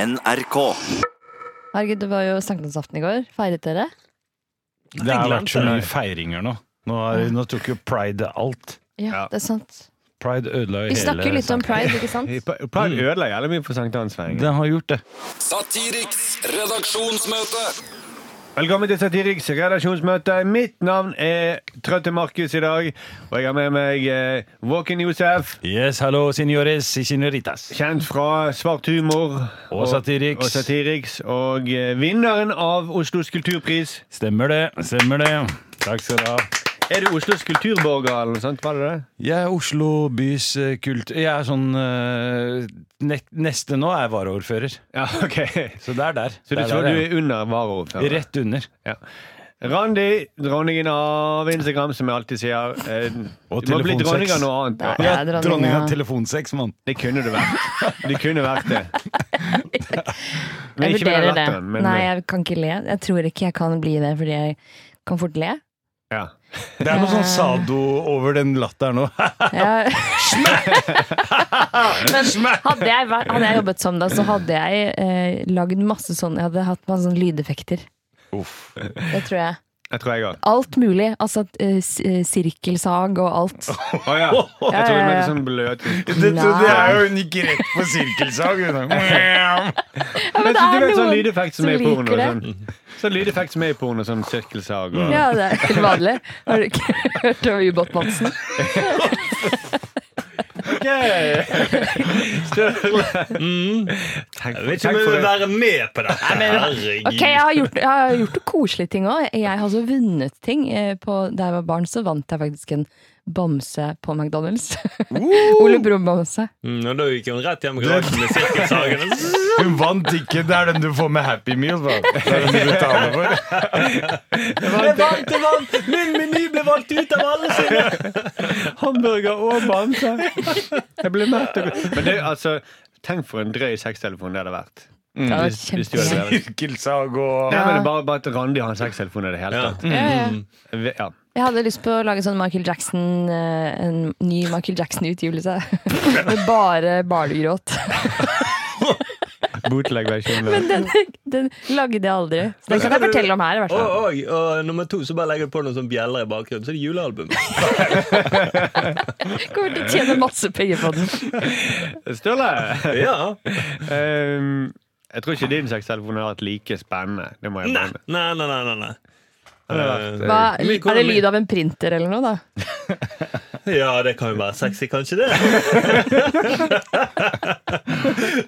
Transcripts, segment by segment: NRK. Herregud, det var jo sankthansaften i går. Feiret dere? Det har England, vært så mye eller? feiringer nå. Nå, er, nå tok jo pride alt. Ja, Ja. det er sant. Pride ødela jo Vi hele snakker jo litt om saken. pride, ikke sant? Pride ødela jævlig mye for sankthansfeiringen. Den har gjort det. Satiriks redaksjonsmøte. Velkommen til Satiriks redaksjonsmøte. Mitt navn er Trøtte Markus i dag, og jeg har med meg eh, Våken Josef. Yes, hallo, signores y señoritas. Kjent fra Svart humor Og Satiriks. Og, satiriks, og eh, vinneren av Oslos kulturpris. Stemmer det, stemmer det. Takk skal du ha. Er du Oslos kulturborger eller noe sånt? Var det det? Jeg er Oslo bys eh, kult... Jeg er sånn eh, ne Neste nå er varaordfører. Ja, ok. Så det er der. Så du Det er tror der du jeg er under er. varaordfører? Rett under. Ja. Randi, dronningen av Instagram, som jeg alltid sier. Eh, Og du må bli telefonsex. dronning av noe annet. Nei, jeg er dronning av telefonsex, mann. Det kunne du vært. Du kunne vært det. Men Jeg ikke med den vurderer det. latteren. Men, eh. Nei, jeg kan ikke le. Jeg tror ikke jeg kan bli det, fordi jeg kan fort le. ja. Det er noe sånn sado over den latteren nå. Jeg... Men hadde jeg, vært, hadde jeg jobbet sånn da, så hadde jeg eh, lagd masse sånn Jeg hadde hatt masse sånn lydeffekter. Det tror jeg. Jeg tror jeg òg. Alt mulig. Altså eh, s- eh, sirkelsag og alt. Å ja. Jeg Ja, tror ja, det var ja. litt sånn bløt. Det, det er jo hun gikk rett på sirkelsag. Men det du er vet sånn noen lydeffekt som som er i porno? liker Mm. Sånn, sånn lydeffekt som er i porno, sånn sirkelsag og Ja, det er helt vanlig. Har du ikke hørt om Ubåt-Madsen? Tenk, Jeg vet ikke tenk om jeg for vil det. være med på dette. Herregud. Ok, jeg har gjort, jeg har gjort koselige ting òg. Jeg har også vunnet ting. Eh, På, da jeg var barn, så vant jeg faktisk en bamse på McDonald's. Ole Brumm-bamse. Mm, og da gikk hun rett hjem i garasjen med sirkelsagen. og- Hun vant ikke. Det er den du får med Happy Meal. hva? Det er den du betaler for. Jeg vant, jeg vant! Min meny ble valgt ut av alle sine! Hamburger og bamse. Jeg ble mett. og god. Men det, altså, tenk for en drøy sextelefon det hadde vært. Det var Mm, Hvis- hvis du hadde kjempegøy. levd. Sirkelsag og Nei, men det er bare, bare at Randi har en sextelefon i det hele Ja. tatt. Ja, ja. Mm. Ja. Jeg hadde lyst på å lage sånn Michael Jackson, eh, en ny Michael Jackson-utgivelse. Med bare barnegråt. Bootleg-versjonen. Den, den lagde jeg aldri. Så den kan jeg fortelle om her, i hvert fall. Og, og, og nummer to så bare legger du på noen sånne bjeller i bakgrunnen, så er det julealbum. Kommer til å tjene masse penger på den. Sturle! Ja. Ehm, jeg tror ikke din sextelefon har vært like spennende. Det må jeg Nei, mene. nei, nei. nei, nei, nei. Det har vært, eh, Hva, er det lyd av en printer eller noe, da? Eh, Ja, det kan jo være sexy, kanskje det?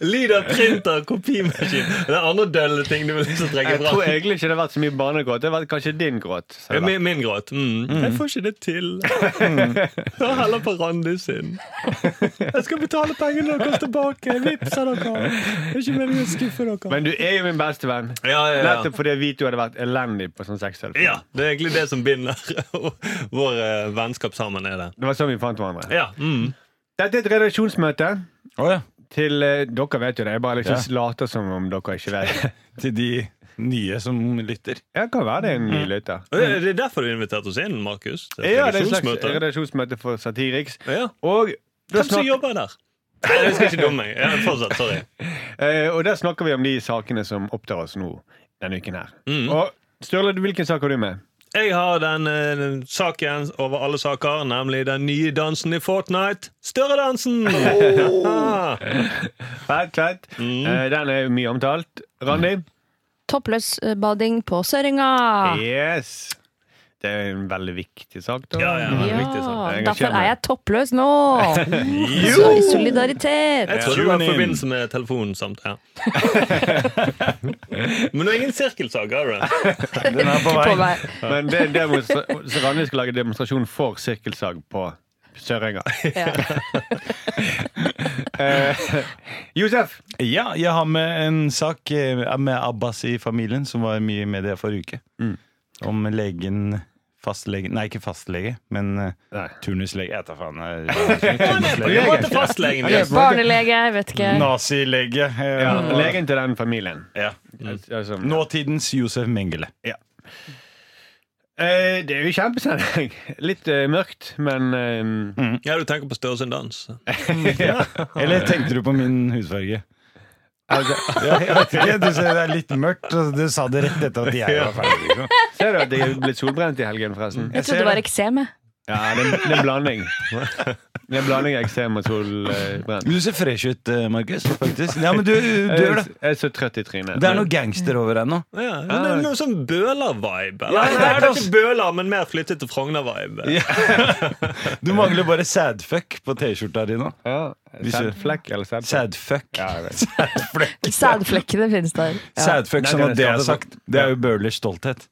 Lyd av printer, kopimaskin Det er andre dølle ting du vil liksom trekke Jeg tror fram. egentlig ikke det har vært så mye barnegråt. Det har vært kanskje din gråt. som Ja, har vært. Min, min gråt. Mm. Jeg får ikke det til. Mm. Jeg heller på Randi sin. Jeg skal betale pengene deres tilbake. Jeg vipser dere. Det er ikke meningen å skuffe dere. Men du er jo min beste venn. ja, ja, ja. Nettopp fordi jeg vet du hadde vært elendig på sånn sextelefon. ja, det er egentlig det som binder vår eh, vennskap sammen. er det Det var sånn vi fant hverandre. Ja, mm. Dette er et redaksjonsmøte. Å ja. Til eh, Dere vet jo det. Jeg bare liksom later som om dere ikke vet det. Til de nye som lytter. Jeg kan være det er en ny lytter. Og Det det er derfor du inviterte oss inn, Markus. til et Ja, det er et slags redaksjonsmøte. redaksjonsmøte for Satiriks. Ja. Og da Hvem som snakker, jobber der? Nei, jeg skal ikke dumme meg. Ja, fortsett, sorry. eh, og der snakker vi om de sakene som opptar oss nå denne uken her. Mm. Og Sturle, hvilken sak har du med? Jeg har den, eh, den saken over alle saker, nemlig den nye dansen i Fortnite. Størredansen! Oh. dansen Fett, fett. Eh, den er mye omtalt. Randi? Toppløsbading eh, på Søringa. Yes! Det er en veldig viktig sak. da. Ja, ja, veldig Ja, viktig sak. Jeg derfor kjenner- er jeg toppløs nå! Så i solidaritet. Jeg tror det var Tune i in. forbindelse med telefonen samt, ja. Men det er ingen sirkelsak, har du det? Den er på På vei. vei. Men det er demonstra- så Randi skal lage demonstrasjon for sirkelsag på Sørenga. Ja. Eh, Josef! Ja, jeg har med en sak eh, med Abbas i familien, som var mye i media forrige uke. Om legen Fastlege Nei, ikke fastlege, men eh, Nei. turnuslege. Jeg tar faen. eh, På turnuslege. jobba til fastlegen liksom. din. Barnelege, jeg vet ikke. Nazilege. eh, Ja, legen til den familien. Ja. Altså, Nåtidens Josef Mengele. eh, det er jo kjempesending. Litt eh, mørkt, men eh, Mm. Mm. Ja, du tenker på størrelsen dans. Eller tenkte du på min hudfarge? Altså, Ja, jeg vet ikke, du ser det er litt mørkt, og du sa det rett etter at jeg var ferdig. Liksom. ser du at jeg er blitt solbrent i helgen, forresten? Jeg trodde det var eksem, jeg. Ja, det er det er en blanding. Det er en blanding av eksem og solbrent. Men Du ser fresh ut, eh, Markus. Faktisk. Ja, men du, du gjør det. Jeg er så trøtt i trynet. Det er noe gangster over deg nå. Ja, men det er noe sånn Bøhler-vibe. Ah. Ja, Eller det er det også. ikke Bøhler, men mer flyttet til Frogner-vibe. Du mangler bare sadfuck på T-skjorta di nå. Ja. Hvis du- Sædflekk eller sædflekk? Sadfuck. Ja, jeg vet. Sadflekk. Sædflekkene finnes der. Ja. Sadfuck, Nei, sånn det er at det er sant, sagt. Det er jo Bøhlers stolthet.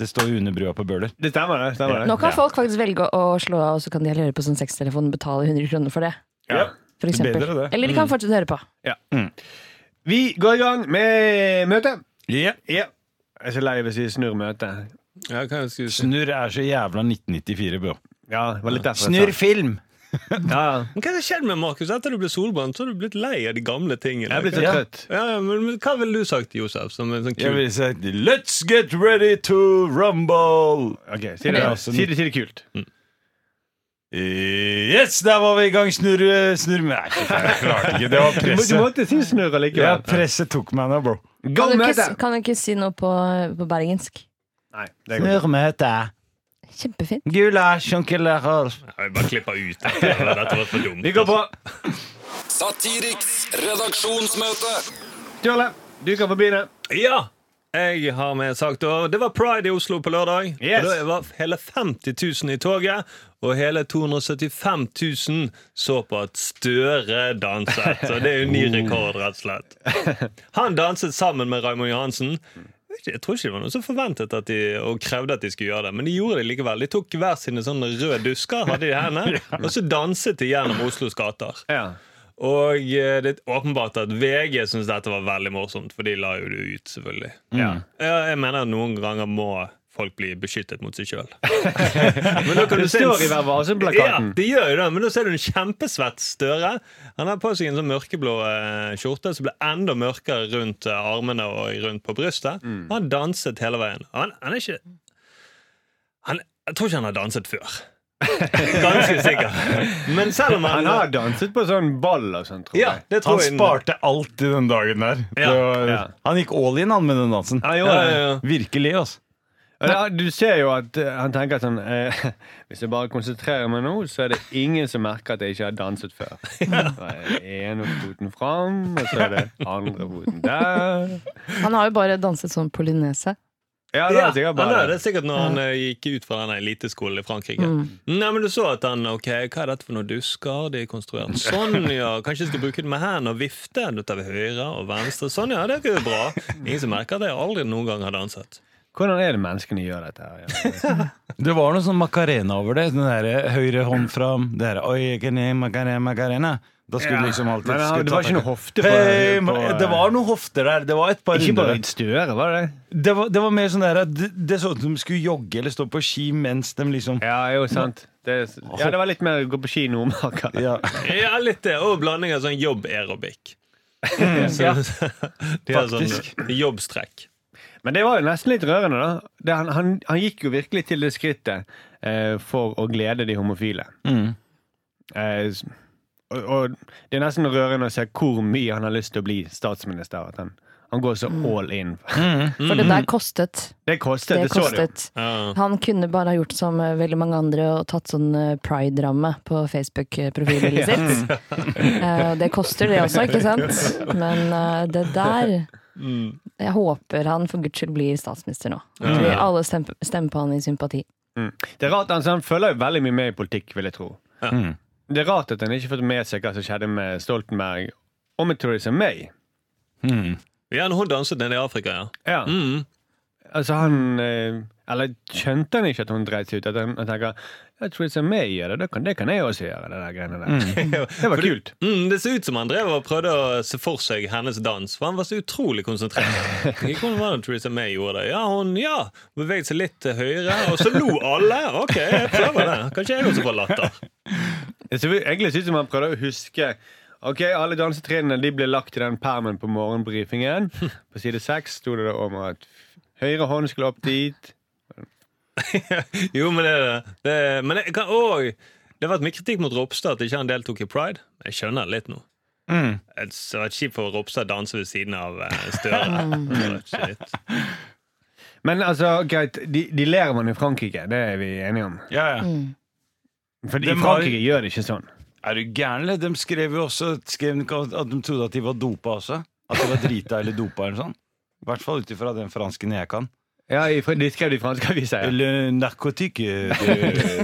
Det står jo under brua på Bøhler. Det stemmer, det. stemmer Nå det. kan folk faktisk velge å slå av, og så kan de heller høre på sånn sextelefon og betale 100 kroner for det. Ja. For eksempel. Bedre det. Eller de kan fortsette å høre på. Vi går i gang med møtet. Yeah. Ja. Jeg er så lei hvis vi snur møtet. Ja, hva jeg skulle si? Snurr er så jævla 1994, bro. Ja, det var litt derfor Snurr jeg sa film! det. Ja, ja. Men Hva har skjedd med Markus? Etter du ble solbrent, så har du blitt lei av de gamle tingene. Jeg er blitt så Ja. trøtt. ja, ja, men, men Hva ville du sagt, Josef? Som en sånn Jeg kul ville sagt Let's get ready to rumble! Ok, Si det, Ja, da. så- si det, si det kult. Yes, der var vi i gang. Snurr snurr Nei, fy faen, jeg klarte ikke. Det var Du, må- du presset. måtte si snurr Ja, allikevel. presset tok meg nå, bro. Kan Gå du ikke, møte! kan du ikke si noe på, på bergensk? Nei, det går ikke. Snurrmøte. Kjempefint. Gulasj, onkel Lars. Jeg vil bare klippe ut dette. Dette var for dumt. Vi går på. Satiriks redaksjonsmøte. Sturle, du kan få begynne. altså. Ja! Jeg har med en sak da. Det var pride i Oslo på lørdag. Yes. Og da var hele 50 000 i toget, og hele 275 000 så på at Støre danset. Så det er jo Oh. ny rekord, rett og slett. Han danset sammen med Raymond Johansen. Jeg vet ikke- Jeg tror ikke det var noen som forventet at de, og krevde at de skulle gjøre det, men de gjorde det likevel. De tok hver sine sånne røde dusker, hadde de i hendene, og så danset de gjennom Oslos gater. Ja. Og eh, det er åpenbart at VG syns dette var veldig morsomt, for de la jo det ut, selvfølgelig. Ja. Ja, jeg mener at noen ganger må folk bli beskyttet mot seg sjøl. men da kan Det du se en- står i Vær ja, varsom-plakaten. de gjør jo det, men da ser du en kjempesvett Støre. Han har på seg en sånn mørkeblå eh, skjorte som ble enda mørkere rundt eh, armene og rundt på brystet. Og Han danset hele veien. Og Han, han er ikke han, Jeg tror ikke han har danset før. Ganske sikker. Men selv om han, Han har danset på sånn ball og sånn, tror ja, jeg. det tror Han jeg- sparte alt i den dagen der. Det Ja, var- ja. Han gikk all in han med den dansen. Han gjorde Ja, det. ja, ja. Virkelig, altså. Og da, du ser jo at eh, han tenker sånn eh, Hvis jeg bare konsentrerer meg nå, så er det ingen som merker at jeg ikke har danset før. Så er det ene foten fram, og så er det andre foten der. Han har jo bare danset sånn polynese. Ja, det Ja, er sikkert han bare er det sikkert når han eh, gikk ut fra den eliteskolen i Frankrike. Nei, men du så at han, ok, Hva er dette for noen dusker? De er konstruert sånn, ja. Kanskje jeg skal bruke det med hendene og vifte? Da tar vi høyre og venstre. Sånn, ja. Det er jo bra. Ingen som merker at jeg aldri noen gang har danset. Hvordan er det menneskene gjør dette her? Ja? Det var noe sånn macarena over det. Den der høyre hånd fram. Det der, Oi, kene, macarena, macarena. Da skulle Ja, liksom alltid men han- skulle det var ta ikke tak- noe hofte på- Hei, på- ma- Det var noen hofter der. Det var et par Ikke runder bare der. litt støre, var det det? Det var, det var mer sånn der at det, det så ut som de skulle jogge eller stå på ski mens de liksom Ja, jo, sant. Det, ja, det var litt mer gå på kino, Marka. ja. Ja, litt det. Og blanding av sånn jobb-aerobic. Så, de har sånn Faktisk. jobbstrekk. Men det var jo nesten litt rørende, da. Det, han, han, han gikk jo virkelig til det skrittet eh, for å glede de homofile. Eh, s- og, og det er nesten rørende å se hvor mye han har lyst til å bli statsminister. At han, han går så all in. For det der kostet. Det kostet, Mm. Det det, så du. kostet. Ja. Han kunne bare ha gjort som eh, veldig mange andre og tatt sånn eh, pride-ramme på Facebook-profilbildet sitt. Eh, Det koster det også, ikke sant? Men eh, det der Jeg håper han for guds skyld blir statsminister nå. At vi alle stemmer stemmer på han i sympati. Det er rart, han, så han følger jo veldig mye med i politikk, vil jeg tro. Mm. Det er rart at han ikke har fått med seg hva som skjedde med Stoltenberg og med Theresa May. Ja, når hun danset nede i Afrika, ja. Mm. Ja. Altså han eh, Eller skjønte han ikke at hun dreit seg ut? At han han tenker jeg tror ikke meg gjør det, det kan, det kan jeg også gjøre. Det der greiene der. Det var kult. Mm, det ser ut som han drev og prøvde å se for seg hennes dans, for han var så utrolig konsentrert. Ikke hvordan var det Theresa May gjorde det? Ja, hun ja, beveget seg litt til høyre, og så lo alle. Ok, jeg prøver det. Kanskje jeg også får latter. Det ser egentlig ut som han prøvde å huske Ok, Alle dansetrinnene de ble lagt i den permen på morgenbrifingen. På side seks sto det da om at høyre hånd skulle opp dit. Jo, men det er det. det. er- Men jeg kan òg Det har vært mye kritikk mot Ropstad at ikke han deltok i pride. Jeg skjønner det litt nå. Det hadde vært kjipt for Ropstad å danse ved siden av eh, Støre. Shit. Men altså, greit, de, de ler man i Frankrike, det er vi enige om. Ja, ja. For i Dem har- Frankrike gjør det ikke sånn. Er du gæren, eller? De skrev jo også skrev de ikke at de trodde at de var dopa også. At de var drita eller dopa eller noe sånt. I hvert fall ut ifra den fransken jeg kan. Ja, i, Fran- De skrev det i franske aviser. Ja. Le narcotique de,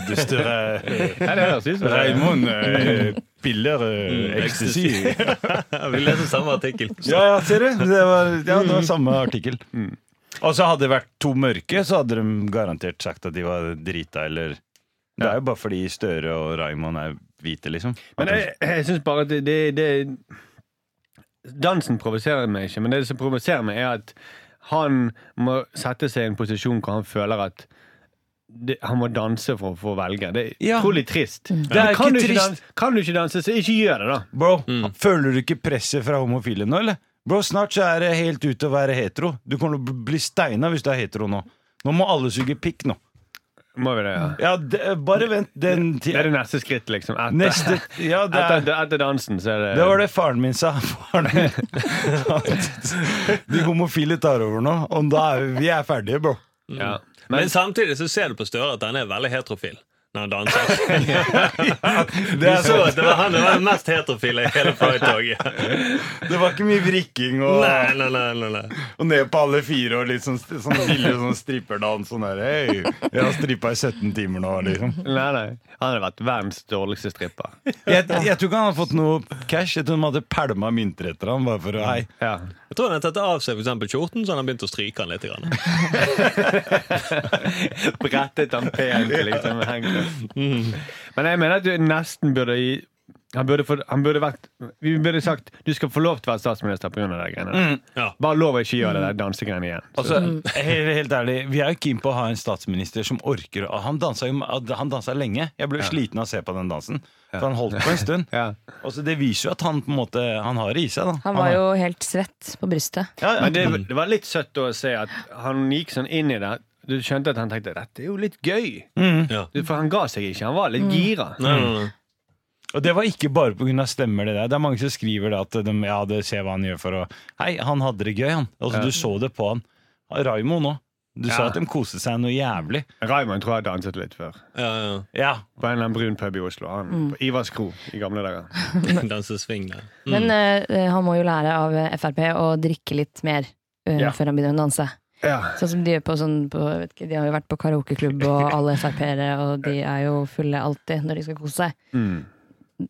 de større Ja, det høres ut som det. Raymond eh, piller eh, ecstasy. Vi leser samme artikkel. Ja, ja, ser du? Det var, ja, det var samme artikkel. Og så hadde det vært to mørke, så hadde de garantert sagt at de var drita eller Det er jo bare fordi Støre og Raymond er hvite, liksom. Men jeg, jeg syns bare at det, det, det Dansen provoserer meg ikke, men det som provoserer meg, er at han må sette seg i en posisjon hvor han føler at det, han må danse for å få velge. Det er Ja. Mm. utrolig trist. Det er Men kan, ikke du ikke trist. danse, kan du ikke danse, så ikke gjør det, da. Bro, føler du ikke presset fra homofile nå, eller? Bro, snart så er det helt ute å være hetero. Du kommer til å bli steina hvis du er hetero nå. Nå må alle suge pikk nå. Må vi det, ja. Ja, det, bare vent den Det er tida. det neste skritt, liksom. Etter, Neste Ja, det er etter, etter dansen, så er det det var det faren min sa. Faren min. De homofile tar over nå, og da er vi, vi er ferdige, bro. Ja. Men, samtidig så ser du på Støre at han er veldig heterofil når han danser. Du Det, er, så sant. at det var han som var den mest heterofile i hele Pride-toget. det var ikke mye vrikking og, Nei, nei, nei, nei, nei. og ned på alle fire og litt sånn, sånn stille sånn stripperdans. Sånn der, «Hei, jeg har strippa i 17 timer nå, liksom. Nei, nei. Han hadde vært verdens dårligste stripper. Jeg, jeg tror ikke han hadde fått noe cash. Jeg tror de hadde pælma mynter etter ham. Bare for å, hei. Ja. Jeg tror han har tatt av seg for eksempel kjorten, så han har begynt å stryke den litt. Grann. Brettet han pent, liksom. hengt. Mm. Men jeg mener at du nesten burde gi han burde, få, han burde vært Vi burde sagt du skal få lov til å være statsminister pga. de greiene. Mm. Ja. Bare lov å ikke gjøre det der dansegreiene igjen. Så- Altså, helt, helt ærlig, Vi er jo keen på å ha en statsminister som orker å- Han dansa, jo, han dansa lenge. Jeg ble sliten av å se på den dansen. For han holdt på en stund. Ja. Og så Altså, Det viser jo at han på en måte Han har det i seg. da Han var jo helt svett på brystet. ja, ja. Men det, det var litt søtt å se at han gikk sånn inn i det. Du skjønte at han tenkte dette er jo litt gøy. Ja. Du- For han ga seg ikke. Han var Mm. litt gira. Nei, nei, nei. Og det var ikke bare pga. stemmer. Det der Det er mange som skriver det at de, ja, det ser hva han gjør for å Hei, han hadde det gøy, han. Altså, Du så det på han. Raymond òg. Du Ja. sa at de koste seg noe jævlig. Raymond tror jeg danset litt før. Ja, ja. Ja, På en eller annen brun pub i Oslo. Han, Mm. På Ivars kro i gamle dager. Danse swing der. Men eh, han må jo lære av eh, Frp å drikke litt mer eh, Ja. før han begynner å danse. Ja. Sånn som de gjør på sånn på, jeg vet ikke, De har jo vært på karaokeklubb og alle Frp-ere, og de er jo fulle alltid når de skal kose seg. Mm.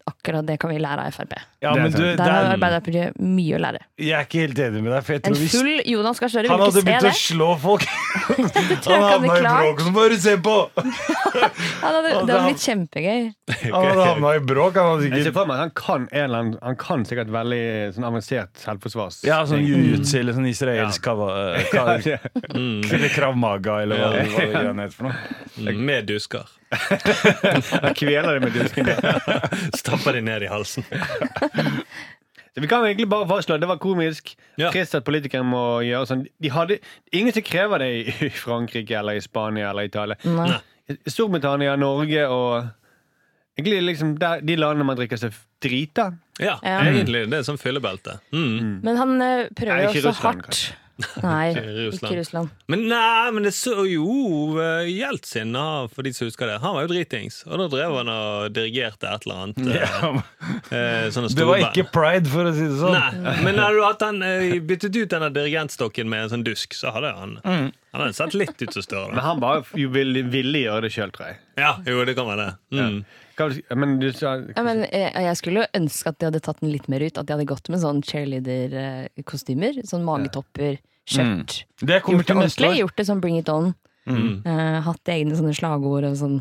Akkurat det kan vi lære av Frp. ja Det er men du, sant. det Der har er, Arbeiderpartiet mye å lære. jeg er ikke helt enig med deg. For jeg En tror hvis full Jonas Gahr Støre Han vil hadde ikke begynt se å slå folk. det. Han havna i bråk. bråk, så bare se på! Han hadde, Og det hadde han- blitt kjempegøy. Han hadde havna i bråk, han hadde Jeg ser sikkert for meg at han kan, en eller annen, han kan sikkert veldig sånn avansert selvforsvars... Ja, sånn jiu-jitsu eller sånn israelsk kava, Mm. ka, eller krav maga eller hva, hva det greiene heter for noe. Mm, Med dusker. Han kveler det med disken. Stapper de ned i halsen. Så vi kan jo egentlig bare fastslå at det var komisk. Ja. Trist at politikere må gjøre sånn. De hadde, ingen som krever det i- i Frankrike eller i Spania eller Italia. Nei. I Storbritannia, Norge og Egentlig liksom der, de landene man drikker seg drita. Ja, Ja. egentlig. Det er sånn fyllebelte. Mm. Men han eh, prøver Nei, jo ikke også Russland, hardt. Nei, Russland. ikke Russland. Men nei, men det så jo eh, Jeltsin, ah, for de som husker det. Han var jo dritings, og da drev han og dirigerte et eller annet. eh, eh, sånne Det var storband. ikke pride, for å si det sånn. Nei, men hadde du hatt han eh, byttet ut denne dirigentstokken med en sånn dusk, så hadde han Han hadde sett litt ut som Men Støre. da. han bare f- ville, ville gjøre det sjøl, tror jeg. Ja, jo, det kan være det. Mm. Hva vil du si- Men du sa Ja, men jeg, jeg skulle jo ønske at de hadde tatt den litt mer ut. At de hadde gått med sånn cheerleader-kostymer. Sånn magetopper, skjørt. Mm. Det kommer Gjort det til neste ordentlig. år. Mm. Gjort det sånn bring it on. Eh, hatt egne sånne slagord og sånn.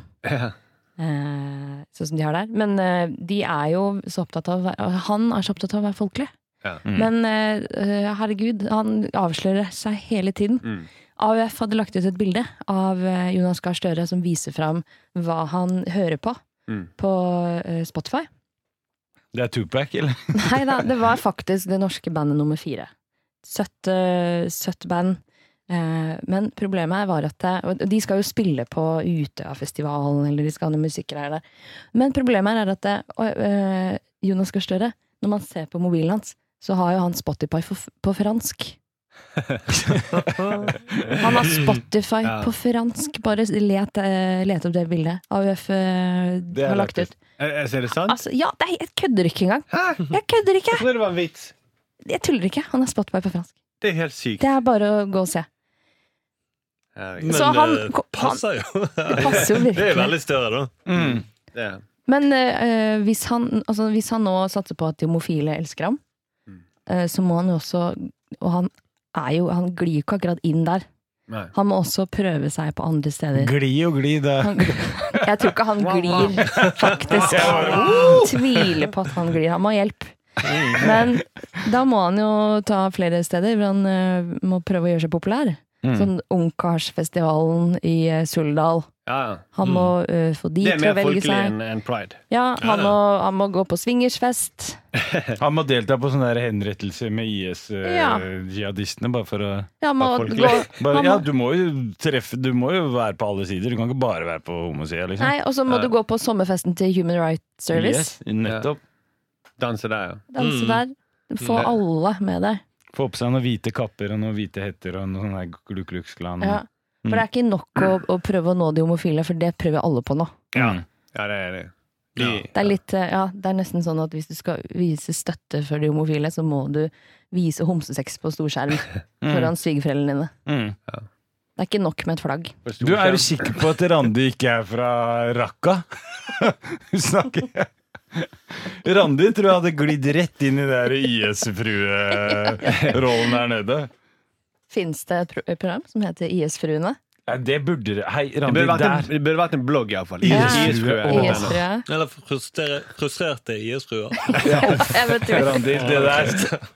eh, sånn som de har der. Men eh, de er jo så opptatt av å være- Han er så opptatt av å være folkelig. Ja. Men eh, herregud, han avslører seg hele tiden. Mm. AUF hadde lagt ut et bilde av eh, Jonas Gahr Støre som viser fram hva han hører på Mm. på eh, Spotify. Det er Tupac, eller? Nei da, det var faktisk det norske bandet nummer fire. Søtt, øh, søtt band. Eh, Men problemet var at det, og De skal jo spille på Utøyafestivalen, eller de skal ha noen musikkgreier der. Men problemet er at det, og, øh, eh, Jonas Gahr Støre når man ser på mobilen hans, så har jo han Spotify for, på fransk. han har Spotify Ja. på fransk. Bare let, eh, let opp det bildet. AUF eh, Det er har lagt lagt ut. Er, er er det sant? Altså, ja, nei, jeg kødder ikke engang! Hæ? Jeg kødder ikke! Jeg trodde det var en vits. Jeg tuller ikke. Han har Spotify på fransk. Det er helt sykt. Det er bare å gå og se. Herregud. Men Så han- det ko- passer jo. Det passer jo virkelig. Det er veldig større, da. Det er- Men eh, eh, hvis, han, altså, hvis han nå satser på at de homofile elsker ham, Mm. eh, så må han jo også Og han er jo Han glir jo ikke akkurat inn der. Nei. Han må også prøve seg på andre steder. Gli og gli, det. Han, jeg tror ikke han glir, faktisk. Jeg tviler på at han glir. Han må ha hjelp. Men da må han jo ta flere steder, hvor han eh, må prøve å gjøre seg populær. Sånn Ungkarsfestivalen i eh, Suldal. Ja, ja. Han må eh, få de Det er til å mer velge folkelig seg. enn enn pride. Ja, han ja. må, han må gå på swingersfest. Han må delta på sånne der henrettelser med Ja. IS-jihadistene, bare for å Ja, han må Ja, gå, folkelig. bare, han Ja, må, du må jo treffe Du må jo være på alle sider. Du kan ikke bare være på homosida, liksom. Nei, Og så må du gå på sommerfesten til Human Rights Service. Yes, nettopp. Danse der, ja. Danse der. Få Ja. alle med deg. Få på seg noen hvite kapper og noen hvite hetter og noen sånne glukkluksklan. Ja. For det er ikke nok å, å prøve å nå de homofile, for det prøver alle på nå. Mm. Ja, det er det. De, Det er, litt, eh, ja, det er nesten sånn at hvis du skal vise støtte for de homofile, så må du vise homsesex på storskjerm foran svigerforeldrene dine. Mm. Det er ikke nok med et flagg. Du er jo sikker på at Randi ikke er fra Raqqa? Hun snakker Randi tror jeg hadde glidd rett inn i den der IS-frue-rollen der nede. Fins det et pro- et program som heter IS-fruene? Nei, det burde det Hei, det Randi, burde, vært en, der! det burde vært en blogg, iallfall. Ja. IS-frue. IS-frue? Eller frustere- frustrerte IS-fruer. Eventuelt. Randi, det der,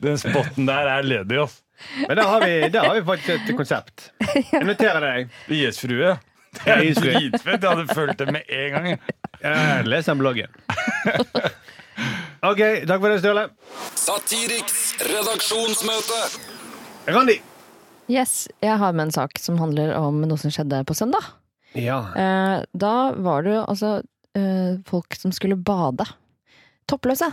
den spotten der er ledig, ass. Men da har, vi, da har vi faktisk et konsept. Jeg noterer deg. IS-frue. Det er dritfett! Jeg hadde fulgt det med en gang. jeg. Eh, Les den bloggen. OK, takk for det, Sturle. Satiriks redaksjonsmøte. Randi. Yes, jeg har med en sak som handler om noe som skjedde på søndag. Ja. Eh, da var det jo altså eh, folk som skulle bade. Toppløse.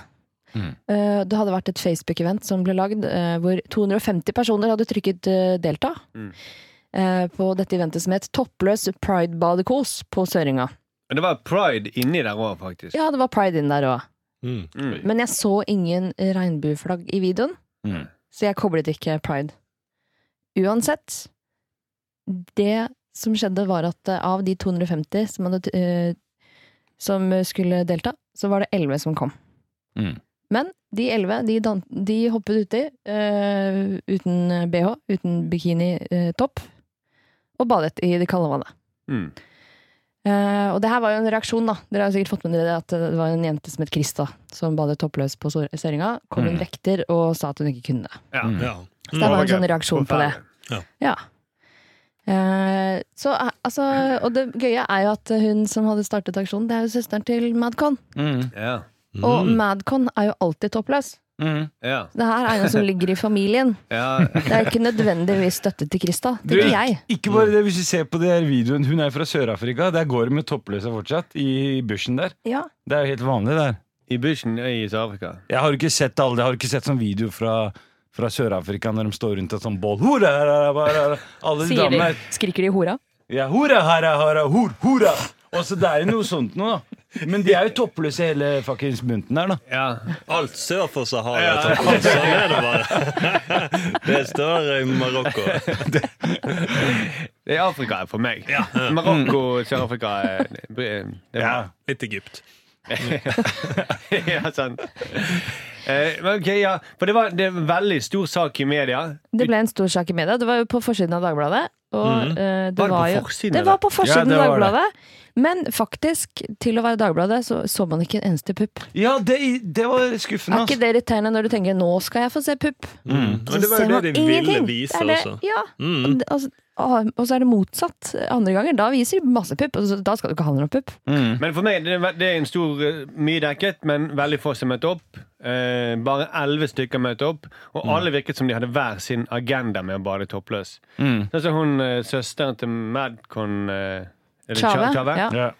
Eh, det hadde vært et Facebook-event som ble lagd, eh, hvor 250 personer hadde trykket eh, 'delta' eh, på dette eventet som het 'Toppløs pride-badekos' på Søringa. Men det var pride inni der òg, faktisk. Ja, det var pride inn der òg. Mm. Mm. Men jeg så ingen regnbueflagg i videoen, Mm. så jeg koblet ikke pride. Uansett, det som skjedde var at eh, av de 250 som, hadde, eh, som skulle delta, så var det 11 som kom. Mm. Men de 11 de, dan de hoppet uti eh, uten bh, uten bikinitopp, og badet i det kalde vannet. Mm. Eh, og det her var jo en reaksjon, da. Dere har jo sikkert fått med dere det at det var en jente som het Krista, som badet toppløs på Sør- Søringa. Kom en vekter og sa at hun ikke kunne det. Ja. Mm. Ja. Så det var en Ok. sånn reaksjon på det. Ja. Eh, så eh, altså Og det gøye er jo at hun som hadde startet aksjonen, det er jo søsteren til Madcon. Mm. Ja. Og Madcon er jo alltid toppløs. Mm. Ja. Det her er noe som ligger i familien. ja. Det er ikke nødvendigvis støtte til Krista, Du, tenker jeg. Ikke bare det, hvis du ser på det her videoen Hun er fra Sør-Afrika, der går hun med toppløse fortsatt I bushen der, Ja. det er jo helt vanlig der I bushen i Sør-Afrika. Jeg har jo ikke sett alle, jeg har jo ikke sett sånn video fra fra Sør-Afrika når de står rundt et sånn bål Hurra, hurra, hurra, hurra. Alle de Sier de, damene er, skriker de hora? ja, Hurra, hurra, hurra, hur, hurra Og så det er jo noe sånt nå da Men de er jo toppløse hele fuckings bunten der da Ja. Alt sør for Sahara. Sånn er det bare. Det står i Marokko. Det er Afrika for meg. Marokko, Sør-Afrika eh, det er- det er- Ja, Litt Egypt. ja, sant. Eh, men ok, ja. For det var det er en veldig stor sak i media. Det ble en stor sak i media. Det var jo på forsiden av Dagbladet. Og, eh, det Var var det på jo, forsiden, Det eller? var på forsiden av Ja, det var det. Dagbladet. Men faktisk, til å være Dagbladet, så så man ikke en eneste pupp. ja det, det var Er skuffende ikke altså. det irriterende når du tenker 'nå skal jeg få se pupp'? Mm. Men det var jo ser det man de ville ingenting. vise Det er det- også. Mm. Ja. Og det- altså, ah, Og så er det motsatt andre ganger. Da viser de masse pupp, og så- da skal du ikke handle om pupp. Men for meg, det er, det er en stor eh, Mye dekket, men veldig få som møtte opp. Eh, bare elleve stykker møtte opp, og alle virket som de hadde hver sin agenda med å bade toppløs. Sånn som hun eh, søsteren til Madcon eh, er det Cha- Chave, Chave? ja. ja.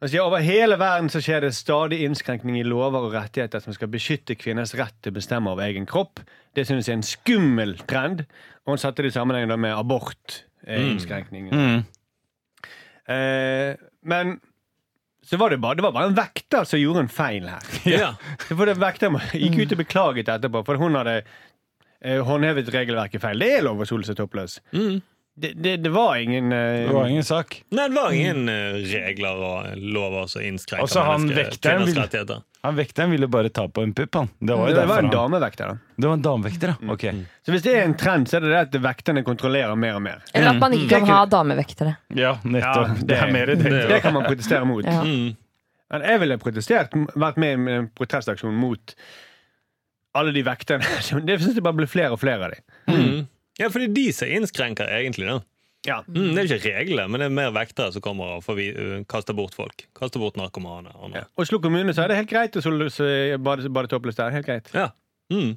Han sier over hele verden så skjer det stadig innskrenkning i lover og rettigheter som skal beskytte kvinners rett til å bestemme over egen kropp. Det synes jeg er en skummel trend. Og han satte det i sammenheng da med abortinnskrenkningen. Mm. Eh, men så var det, bare, det var bare en vekter som gjorde en feil her. Ja. For det Vekter gikk Mm. ut og beklaget etterpå, for hun hadde eh, håndhevet regelverket feil. Det er lov å sole seg toppløs. Mm. Det, det, det var ingen eh, Det var ingen sak. Nei, det var ingen eh, regler og lover som innskrenker Altså, han menneske- vekteren kvinners vil- rettigheter. Han vekteren ville bare ta på en Mm. pupp, han. Det var jo Det var derfor en han damevekter, da. Det var en damevekter, ja. Ok. Så hvis det er en trend, så er det det at vekterne kontrollerer mer og mer. Eller Mm. at man ikke kan ha damevektere. Ja, nettopp. Ja, det, er mer i det. Det kan man protestere mot. Ja. Mm. Men jeg ville protestert, vært med i en protestaksjon mot alle de vekterne. Det synes jeg bare ble flere og flere av de. Mm. Ja, fordi de som innskrenker, egentlig. da Ja. mm, Det er ikke regler, men det er mer vektere som kommer og forvi, eh, kaster bort folk. Kaster bort narkomane. Og noe. Ja. Oslo kommune sa det er helt greit å sole- så bade, bade toppløs der. Helt greit. Ja. Mm.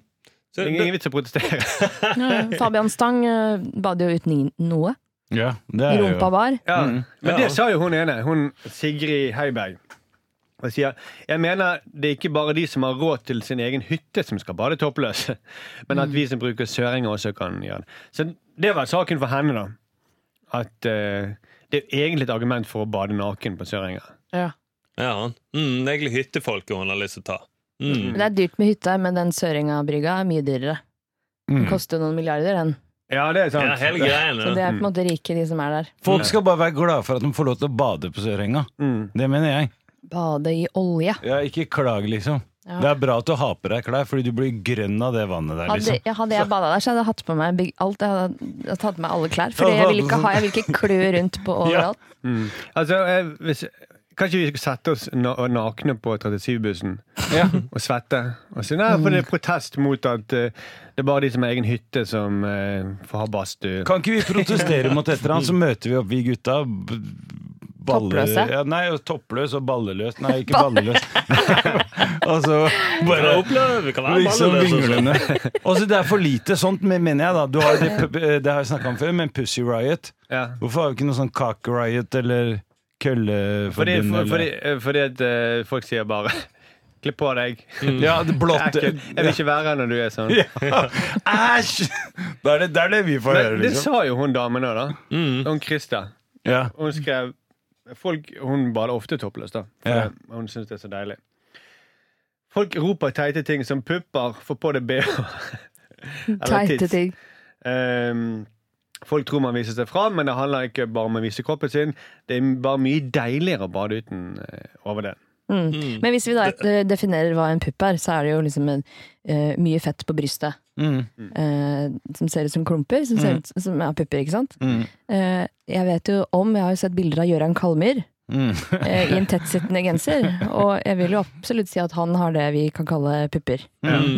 Så Det er det, ingen vits å protestere. Fabian Stang eh, bader jo uten ingen- noe. Ja, det er Rumpa jo bar. Mm. Ja. Men Ja. det sa jo hun ene, hun Sigrid Heiberg. Og sier jeg mener det er ikke bare de som har råd til sin egen hytte, som skal bade toppløse, men at vi som bruker søringer, også kan gjøre det. Så det var saken for henne, da. At eh, det er egentlig et argument for å bade naken på søringer. Ja. ja. Mm, det er egentlig hyttefolket hun har lyst til å ta. Mm. Det er dyrt med hytte, men den Søringa-brygga er mye dyrere. Den mm. koster jo noen milliarder, den. Ja, det er sant. Ja, hele Så greiene. det er på en måte rike, de som er der. Folk skal bare være glade for at de får lov til å bade på Sørenga. Mm. Det mener jeg. Bade i olje. Ja, ikke klag, liksom. Ja. Det er bra at du har på deg klær, fordi du blir grønn av det vannet der, Hadde, liksom. ja, hadde jeg bada der, så hadde jeg hatt på meg big- alt. Jeg hadde, jeg hadde tatt på meg alle klær. For jeg vil ikke ha jeg vil ikke klø rundt på overalt. Altså, eh, hvis, kanskje vi skal sette oss na nakne på 37-bussen og svette? Og si nei, for det er protest mot at eh, det er bare de som har egen hytte, som eh, får ha badstue. Kan ikke vi protestere mot et eller annet, så møter vi opp, vi gutta. b- balle- Toppløse? Ja, nei, og toppløs og balleløs. Nei, ikke balleløs. og så Bare altså. bare oppleve, vi kan være liksom balleløse også. vinglende. Og så Altså, det er for lite sånt, men- mener jeg, da. Du har det, pu- eh, det har jeg snakka om før, men Pussy Riot. Ja. Hvorfor har vi ikke noe sånn Cock Riot eller Fordi, Kølleforbundet? for, fordi, eller- eh, fordi at eh, folk sier bare Klipp på deg. Mm. ja, det Det er blått ekkelt. Jeg vil ikke være her når du er sånn. Æsj! Det er det, det er det vi får høre, Men det liksom. Mm. sa jo hun damen òg, da. Hun Krista. Ja. Hun skrev Folk, Hun bader ofte toppløs, da. For Ja. Hun syns det er så deilig. Folk roper teite ting som pupper, få på deg bh. Eller Teite tids. ting. Ehm, folk tror man viser seg fram, men det handler ikke bare om å vise kroppen sin. Det er bare mye deiligere å bade uten eh, over det. Mm. Men hvis vi da eh, definerer hva en pupp er, så er det jo liksom en, eh, mye fett på brystet. Mm. eh, som ser ut som klumper, som, ser ut, som er pupper, ikke sant? Eh, jeg vet jo om, jeg har jo sett bilder av Gøran Kalmyr Mm. eh, i en tettsittende genser, og jeg vil jo absolutt si at han har det vi kan kalle pupper.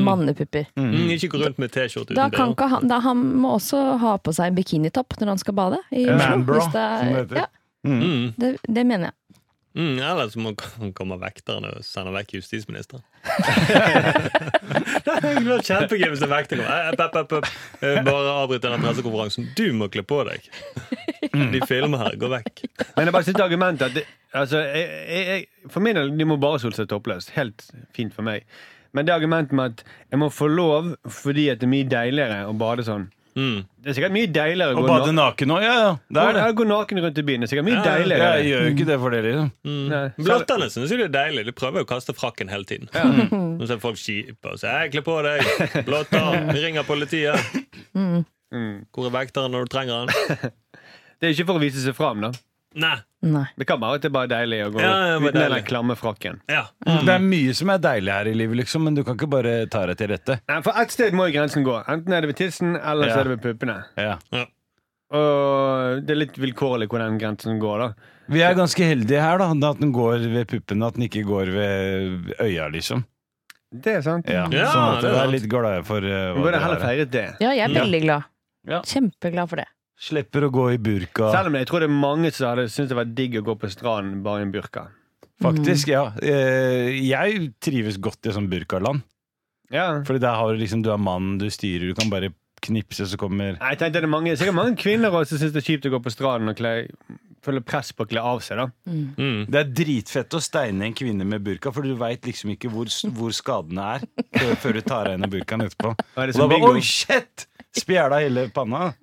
Mannepupper. Mm, ikke gå rundt med T-skjorte Da uten kan BH. ikke han, da han må også ha på seg bikinitopp når han skal bade. I Ja. Oslo, Manbra, hvis det er- som det heter. Ja, Mm, det, det mener jeg. mm, ellers må han komme vekterne og sende vekk justisministeren. det hadde vært kjempegøy hvis en vekter kom. Eh, eh, pep, pep, pep. Eh, Bare avbryt denne pressekonferansen. Du må kle på deg! Mm. De filmer her. Gå vekk. Men jeg bare synes argumentet at det, altså, jeg, jeg, jeg, For min del, de må bare sole seg toppløst. Helt fint for meg. Men det argumentet med at jeg må få lov fordi at det er mye deiligere å bade sånn Mm. Det er sikkert mye deiligere Å bade naken òg, ja ja. Det er det. Gå naken rundt i byen. Det er sikkert mye Ja, ja, Mm. deiligere. Jeg gjør jo ikke det for dere, liksom. Nei. Blotterne syns jo det er deilig. De prøver jo å kaste frakken hele tiden. Nå ser folk kjipe og sier «Hei, 'kle på deg', blotter, vi ringer politiet. Mm. Hvor er vekteren når du trenger den? Det er ikke for å vise seg fram, da. Nei. Nei. Det kan være at det er bare deilig å gå Ja, ja, uten bare den der deilig. klamme frakken. Ja. Mm. Det er mye som er deilig her i livet, liksom, men du kan ikke bare ta deg til rette. Nei, For ett sted må jo grensen gå. Enten er det ved tissen, eller Ja. så er det ved puppene. Ja. Og det er litt vilkårlig hvor den grensen går, da. Vi er ganske heldige her, da. At den går ved puppene, at den ikke går ved øya, liksom. Det er sant. Ja, Ja, sånn at det er jeg er sant. litt glad for eh, Vi hva burde dere heller har her. feiret det. Ja, jeg er Ja. veldig glad. Ja. Slemppeglad for det. Slipper å gå i burka. Selv om jeg tror det er mange som hadde syntes det var digg å gå på stranden bare i en burka. Faktisk, ja. Eh, Jeg trives godt i sånn burkaland. Ja. Fordi der har du liksom, du er mann, du styrer, du kan bare knipse, så kommer Nei, Jeg tenkte det er mange, sikkert mange kvinner også som syns det er kjipt å gå på stranden og kle føler press på å kle av seg. da Mm. Det er dritfett å steine en kvinne med burka, for du veit liksom ikke hvor, hvor skadene er før, før du tar av henne burkaen etterpå. Ja, det er Og da som bare bingo. Oi, shit! Spjæla hele panna.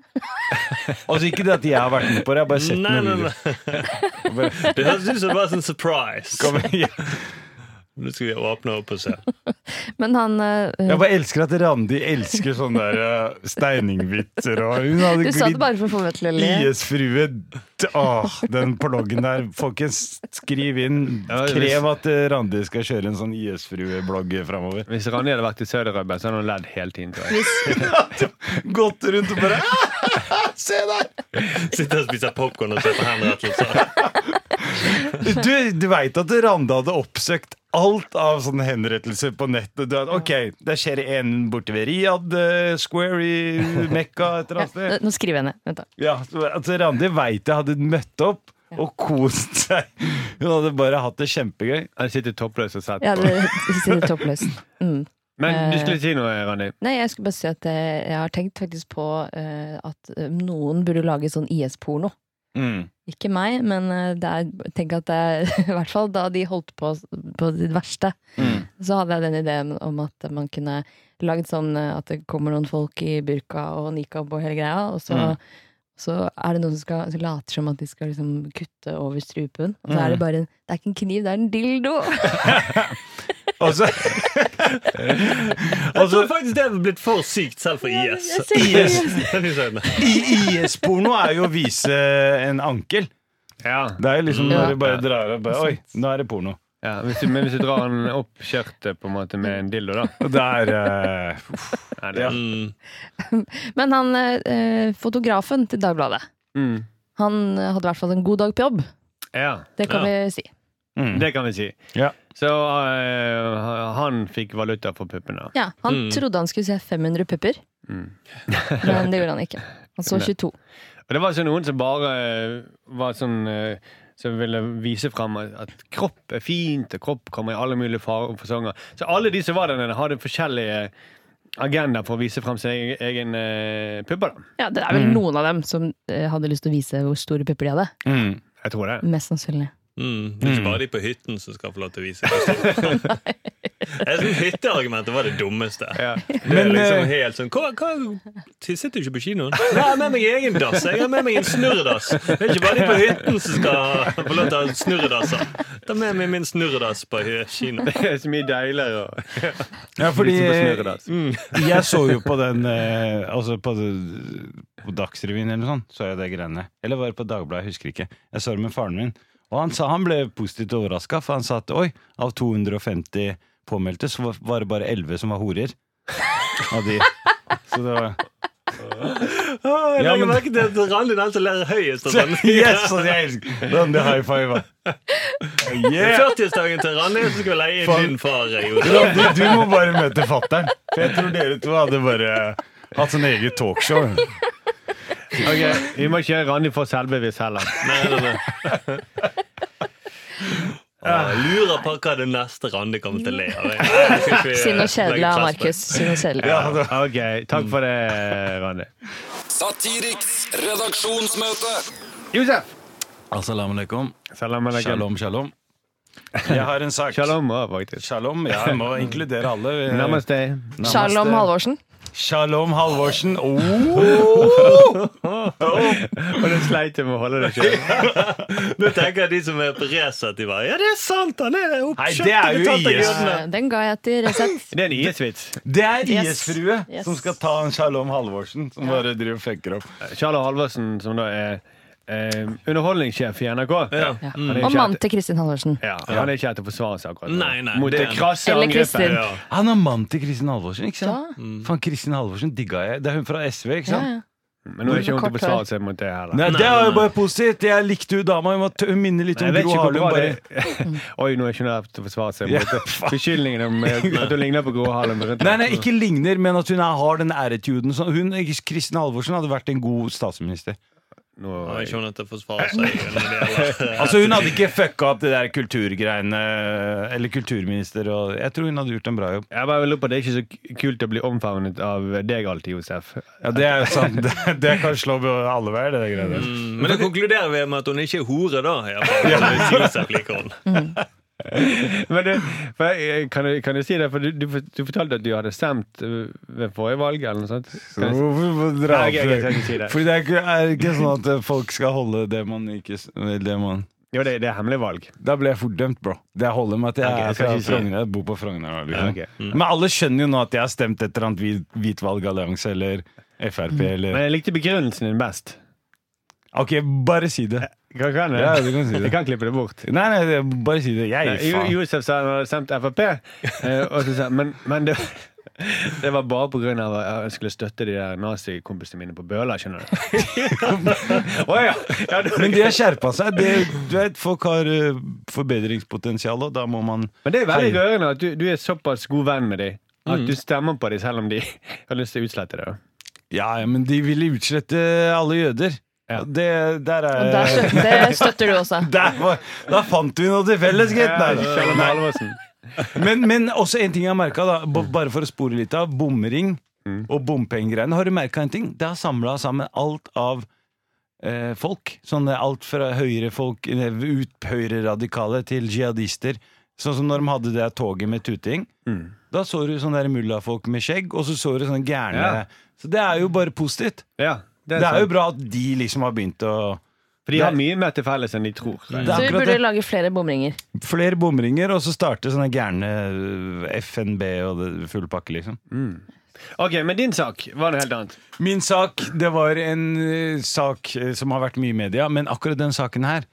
Altså Ikke det at jeg har vært med på det, jeg har bare sett Nei, nei, noen nei. videoer. Og bare- Det høres ut som det var en surprise. Kom igjen. Nå skal vi åpne opp og se. Men han eh, Jeg bare elsker at Randi elsker sånne der eh, steiningvitser og Hun hadde Du sa det glidd- bare for å få meg til å le. IS-frue d- Åh, den bloggen der. Folkens, skriv inn. Ja, hvis- Krev at eh, Randi skal kjøre en sånn IS-frue-blogg framover. Hvis Randi hadde vært i Søderøybet, så hadde hun ledd hele tiden. Tror jeg. Gått rundt og bare «Ah, Se der! Sitter og spiser popkorn og ser på henrettelser. Du, du veit at Randi hadde oppsøkt alt av sånne henrettelser på nettet. Du, hadde- ok, Det skjer en borte ved Riyadh eh, Square i Mekka et Ja, eller annet sted. nå skriver jeg ned. Vent da. Ja, altså Randi veit jeg hadde møtt opp og kost seg. Hun hadde bare hatt det kjempegøy. Jeg sitter toppløs og sett Ja, på. det, det sitter toppløst. Mm. Men du skulle si noe, Randi. Nei, jeg skulle bare si at jeg, jeg har tenkt faktisk på eh, at eh, noen burde lage sånn IS-porno. Ikke meg, men eh, det er, tenk at det er I hvert fall da de holdt på på sitt verste, så hadde jeg den ideen om at man kunne lagd sånn eh, at det kommer noen folk i burka og nikab og hele greia, og så Så er det noen som, skal, som later som at de skal liksom kutte over strupen. Og så er det bare en, Det er ikke en kniv, det er en dildo! Og så Jeg tror faktisk det er blitt for sykt selv for IS. Jeg ser ikke- I IS-porno er jo å vise en ankel. Ja. Det er jo liksom Ja. når du bare drar opp bare, Oi, nå er det porno. Ja, hvis du, men hvis du drar den opp skjørtet på en måte med en dildo, da Og det er eh, uff. Nei, det, Mm. Men han, eh, fotografen til Dagbladet, Mm. han eh, hadde i hvert fall en god dag på jobb. Ja, Det kan vi si. mm. det kan vi si. Ja. Så eh, han fikk valuta for puppene. Ja, han Mm. trodde han skulle se 500 pupper, Mm. men det gjorde han ikke. Han så Nei. 22. Og det var så noen som bare eh, var sånn eh, som ville vise fram at kropp er fint, og kropp kommer i alle mulige farer og fasonger. Så alle de som var der nede, hadde forskjellige agendaer for å vise fram sin egen, egen eh, pupper. da. Ja, Det er vel noen av dem som eh, hadde lyst til å vise hvor store pupper de hadde. Mm. Jeg tror det. Mest sannsynlig. Mm. Det er ikke bare de på hytten som skal få lov til å vise hvor stor. Jeg synes Hytteargumentet var det dummeste. Ja. Det er Men, eh, liksom helt sånn Hva, hva tisset du ikke på kinoen? Jeg har med meg egen dass. Jeg har med meg en snurredass. Det er ikke bare de på hytten som skal få lov til å ha snurredasser. Ta med meg min snurredass på hy- kino. Det er så mye deiligere. å- Ja, fordi Mm. Litt som besnøret, altså. jeg så jo på den eh, Altså på, på Dagsrevyen eller noe sånt, så jeg det greiene. Eller var det på Dagbladet, jeg husker ikke. Jeg så det med faren min. Og han, sa, han ble positivt overraska, for han sa at oi, av 250 påmeldte, så var- var det bare 11 som var horer. Av de. Så det var Jeg Ja, legger men- merke til at Randi er den som ler høyest. Og sånn. Yes, altså, jeg elsker Den det high five yeah. 40-årsdagen til Randi, så skal vi leie inn Faen. din far. Jonas. Randi, du må bare møte fatteren For jeg tror dere to hadde bare Hatt sånn eget talkshow Ok, Vi må ikke gjøre Randi for selvbevisst heller. Nei, nei, nei. Ah, lurer på hva det neste Randi kommer til å le av. Jeg skal ikke, eh, Synd og kjedelig av legge Markus. plass Synd og kjedelig. Ok, Takk for det, Randi. Satiriks redaksjonsmøte. Josef! Assalamu alaikum Salam alaikum. Shalom, shalom Jeg har en sak Shalom òg, faktisk. Shalom, ja, jeg må inkludere alle Namaste. Namaste. Shalom Halvorsen. Shalom Halvorsen oh. Og det sleit jeg med å holde det sjøl. på. Nå tenker jeg de som er på Resett, de bare Ja, det er sant! Han er oppkjøpt det er og jo betalt av IS. jødene. Eh, Den ga jeg til Resett. Det er en IS-vits. Det er Yes. IS-frue Yes. Som skal ta en Shalom Halvorsen Som bare driver og fucker opp Charlo Halvorsen, som da er eh, underholdningssjef i NRK. Ja. Ja. Mm. Han er Og ikke mannen her til- til Kristin Halvorsen. ja, han er ikke her til å forsvare seg akkurat nå. Nei, nei, mot det er det han. krasse Eller angrepet. Kristin. Ja. Han er mann til Kristin Halvorsen, ikke sant? Mm. Ja. Faen, Kristin Halvorsen digga jeg Det er hun fra SV, ikke Ja, sant? ja. Men nå er ikke hun til å forsvare seg mot det heller. Nei, Nei, det er jo nei, bare positivt. Jeg likte jo dama. Hun, var t- hun minner litt Jeg om vet Gro ikke hvor Harlem. bra det Bare. Oi, nå er ikke hun her til å forsvare seg mot det. beskyldningen om eh, at hun ligner på Gro Harlem. Rundt Nei, nei, ikke ligner, men at hun er, har den æretuden. Sånn. Hun, Kristin Halvorsen hadde vært en god statsminister. nå Har ikke hun at det forsvarer seg? når det gjelder- Altså Hun hadde ikke fucka opp det der kulturgreiene Eller kulturminister og Jeg tror hun hadde gjort en bra jobb. Jeg bare lurer på, Det er ikke så k- kult å bli omfavnet av deg alltid, Josef. Ja, Det er jo sant. Det, det kan slå alle veier, det greiene der. Mm, Men det konkluderer vi med at hun ikke er hore, da. i hvert fall. Hvis Josef liker hun. Men du, for jeg, kan, du, kan du si det? For du, du, fort- du fortalte at du hadde stemt øh, ved forrige valg, eller noe sånt? Kan jeg, Hvorfor må du dra Nei, opp ok, ok, jeg skal det? ikke si det. Fordi det er ikke, er ikke sånn at eh, folk skal holde det man ikke s- det man. jo, det, det er hemmelig valg. Da ble jeg fordømt, bro. Det holder med at jeg Ok, jeg er skal fra ikke si det. Frogner. Jeg bor på Frogner. nå, Liksom. Ja, ok. Men alle skjønner jo nå at jeg har stemt et eller annet hvit, hvitvalgallianse eller Frp eller Men jeg likte begrunnelsen din best. Ok, bare si det. Kan, kan jeg? Ja, du kan si det. Jeg kan klippe det bort. Nei, nei, det- bare si det. Jeg, Nei, Jo- faen. Josef sa han hadde stemt Frp, eh, og så sa han men, men det, det var bare pga. at jeg skulle støtte de der nazikompisene mine på Bøla, skjønner du. Å ja. ja det, Men de har skjerpa seg. Det, du vet, folk har eh, forbedringspotensial, og da må man Men det er veldig rørende at du, du er såpass god venn med dem Mm. at du stemmer på dem selv om de har lyst til å utslette det. Ja, ja, men de ville utslette alle jøder. Ja. Det, der Og er der støtter, det støtter du også. Der var, da fant vi noe til felles, gitt! Nei. Kjell Halvorsen. Men, men også en ting jeg har merka, bare for å spore litt av. Bomring og bompengegreiene. Har du merka en ting? Det har samla sammen alt av eh, folk. Sånn eh, alt fra høyrefolk, eh, ut høyreradikale, til jihadister. Sånn som når de hadde det der toget med tuting. Da så du sånne der mullafolk med skjegg, og så så du sånne gærne Ja. Så det er jo bare positivt. Ja, Det er jo bra at de liksom har begynt å For de har mye mer til felles enn de tror. Det Mm. Så vi er akkurat burde det. lage flere bomringer. Flere bomringer, og så starte sånne gærne eh, FNB og det full pakke, liksom. Ok, Men din sak var noe helt annet. Min sak, det var en eh, sak eh, som har vært mye i media, men akkurat den saken her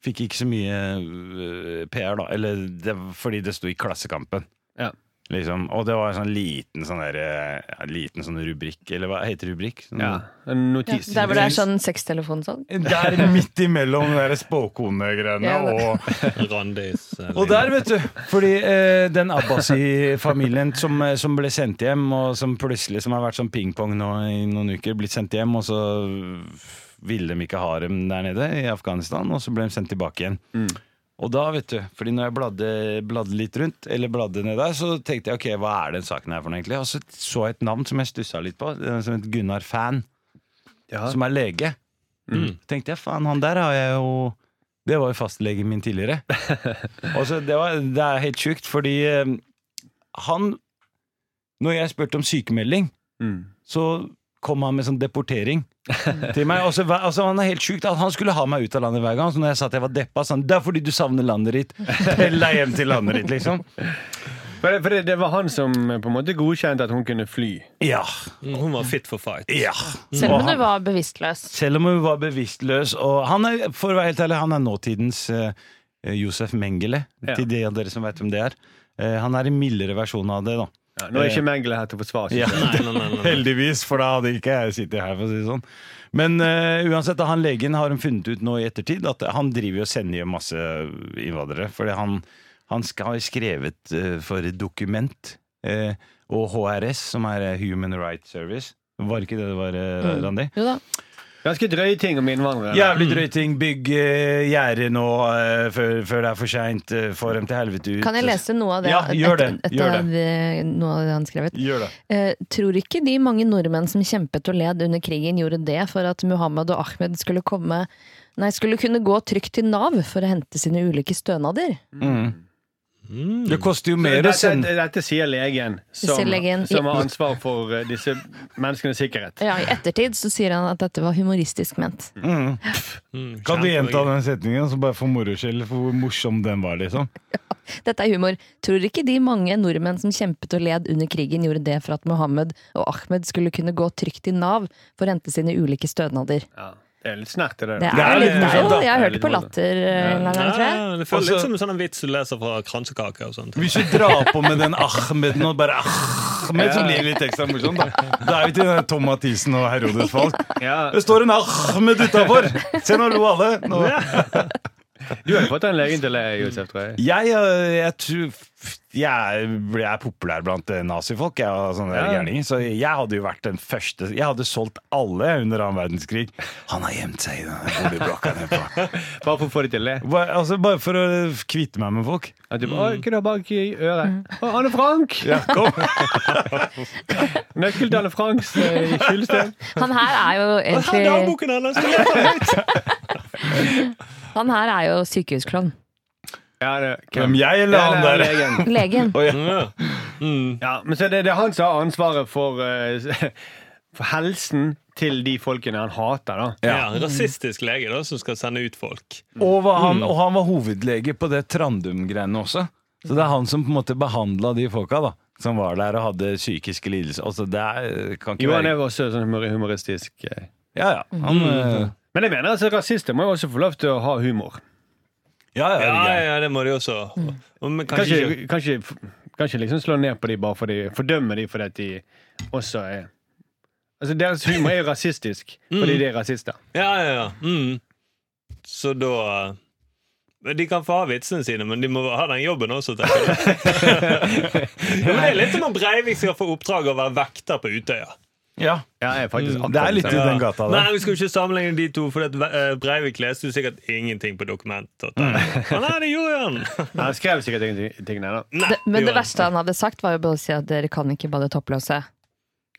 fikk ikke så mye eh, PR, da. Eller det, fordi det sto i Klassekampen. Ja. Liksom. Og det var en sånn liten sånn der, eh, ja, liten sånn rubrikk, eller hva heter rubrikk? Sånn, Ja, En notis. Der hvor det er sånn sextelefonsalg. Der midt imellom den der spåkonegreiene Ja, det- og Randis. eh, Og der, vet du! Fordi eh, den Abbasi-familien som, eh, som ble sendt hjem, og som plutselig som har vært sånn pingpong nå i noen uker, blitt sendt hjem, og så ville de ikke ha dem der nede i Afghanistan, og så ble de sendt tilbake igjen. Og da, vet du, fordi når jeg bladde, bladde litt rundt, eller bladde ned der, så tenkte jeg ok, hva er den saken her for noe egentlig? Og så så jeg et navn som jeg stussa litt på, eh, som het Gunnar Fan, Ja. som er lege. Mm. Tenkte jeg, faen, han der har jeg jo Det var jo fastlegen min tidligere. Og så det, var, det er helt sjukt, fordi eh, han Når jeg spurte om sykemelding, Mm. så kom han med sånn deportering til meg. Og så var- altså, han er helt sjukt at han skulle ha meg ut av landet hver gang. Så når jeg sa at jeg var deppa, sa han det er fordi du savner landet ditt. Pell deg hjem til landet ditt, liksom. For, det, for det, det var han som eh, på en måte godkjente at hun kunne fly. Ja. Mm, Hun var fit for fight. ja. Selv Og om du han- var bevisstløs. Selv om hun var bevisstløs. Og han er, for å være helt ærlig, han er nåtidens eh, Josef Mengele, Ja. til de av dere som vet hvem det er. Eh, han er en mildere versjon av det, da. Ja, nå er ikke Mengele her til å forsvare seg. Ja. Nei, nei, nei, nei, nei. Heldigvis, for da hadde ikke jeg sittet her, for å si det sånn. Men eh, uansett, da, han legen har de funnet ut nå i ettertid at han driver jo og sender hjem masse innvandrere. Fordi han, han skal ha skrevet eh, for et dokument eh, og HRS, som er eh, Human Rights Service. Var ikke det det var, eh, Mm. Randi? Jo da. Ganske drøye ting om innvandrere. Jævlig drøy ting. Bygg eh, gjerde nå eh, før, før det er for seint. Eh, Få dem til helvete ut. Kan jeg lese noe av det, Ja, gjør det, etter- etter gjør det- eh, noe av det han skrevet? Gjør det. Eh, tror ikke de mange nordmenn som kjempet og led under krigen gjorde det for at Muhammed og Ahmed skulle komme Nei, skulle kunne gå trygt til Nav for å hente sine ulike stønader. Mm. Det koster jo mer å Dette, sende dette, dette sier legen som, sier legen. som har ansvar for eh, disse menneskenes sikkerhet. Ja, I ettertid så sier han at dette var humoristisk ment. mm. Mm, Kan du kjempe- gjenta den setningen, så bare for moro skyld, for hvor morsom den var, liksom? Dette er humor. Tror ikke de mange nordmenn som kjempet og led under krigen gjorde det for at Muhammed og Ahmed skulle kunne gå trygt til Nav for å hente sine ulike stønader. Ja. Det er litt snert, det Det der. Det er er litt litt morsomt, deilig. da. Jeg har hørt Det det er på litt latter eh, en eller annen gang, tror jeg. Ja, det føles litt Også- som en sånn vits du leser fra kransekake og sånt. Hvis du drar på med den Ahmeden og bare Ahmed, så blir det litt ekstra morsomt, da. Da er vi til den Tom Mathisen og Herodes Falk. Ja, Det står en Ahmed utafor! Se, nå lo alle. Nå. du har jo fått den legen til deg, Josef, tror jeg. Jeg, eh, jeg tror f- jeg ble- jeg er populær blant eh, nazifolk, jeg, og sånne der Ja. gærninger. Så jeg hadde jo vært den første Jeg hadde solgt alle under annen verdenskrig. Han har gjemt seg i den boligblokka nedpå. Bare for å få de til å le. Bare, altså, bare for å kvitte meg med folk. At du bare, «Å, Kunne ha bak i Mm. øret. Å, Anne Frank! Ja, kom. Nøkkel til Anne Franks eh, kjølested. Han her er jo Her er egentlig dagboken hennes! det er det. Han her er jo sykehusklovn. Ja, det, Hvem jeg eller han Ja, det der? er legen. Legen. Ja. Mm. Ja, men så er det, det er han som har ansvaret for, eh, for helsen til de folkene han hater, da. Ja, en rasistisk lege da, som skal sende ut folk. Og, var han, og han var hovedlege på det Trandum-greiene også. Så det er han som på en måte behandla de folka da som var der og hadde psykiske lidelser. Altså, det er, kan ikke Jo, han være er jo også sånn humor- humoristisk. eh. Ja, ja. Han, eh, Men jeg mener altså, rasister må jo også få lov til å ha humor. ja, ja, Ja, ja, ja, det må de også. Mm. Og- Men kanskje ikke Kanskje, kanskje, kanskje liksom slå ned på de bare fordi Fordømme de fordi at de også er Altså, deres humor er jo rasistisk fordi de er rasister. Ja, ja, ja. Mm. Så da eh, men De kan få ha vitsene sine, men de må ha den jobben også. tenker jeg. ja, men det er litt som om Breivik skal få oppdrag å være vekter på Utøya. ja. Ja, jeg er faktisk akkurat Det er litt samme. i den gata Nei, der. Vi skal jo ikke sammenligne de to, for Breivik leste jo sikkert ingenting på dokumentet. Men nei, det gjorde han! Nei, Jeg skrev sikkert ingenting ting der, da. Nei, Det, men det gjorde han. verste han hadde sagt, var jo bare å si at dere kan ikke bade toppløse.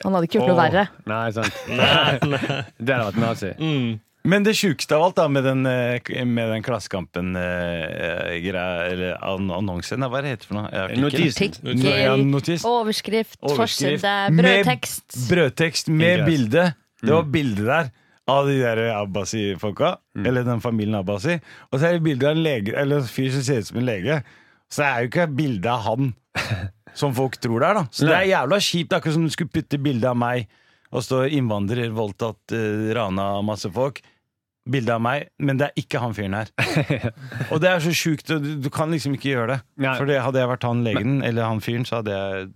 Han hadde ikke gjort noe Åh, verre. Nei, sant. Nei, nei. Det hadde vært nazi. Mm. Men det sjukeste av alt da med den, eh, k- med den Klassekampen-greia, eller an annonsen Nei, Hva er det heter for noe? Artikkel? Notisen. Nå- Gøy. Ja, notis. Overskrift, Overskrift. forside, Med brødtekst. Brødtekst med Ingress. bilde. Det var bilde der av de der Abbasi-folka. Eller den familien Abbasi. Og så er det bilde av en lege, eller en fyr som ser ut som en lege. Så er jo ikke bilde av han som folk tror det er, da. Så det er jævla kjipt, akkurat som du skulle putte bilde av meg og stå innvandrer, voldtatt, eh, rana av masse folk. Bilde av meg, men det er ikke han fyren her. Og det er så sjukt, og du, du kan liksom ikke gjøre det. Nei. For det- hadde jeg vært han legen, eller han fyren, så hadde jeg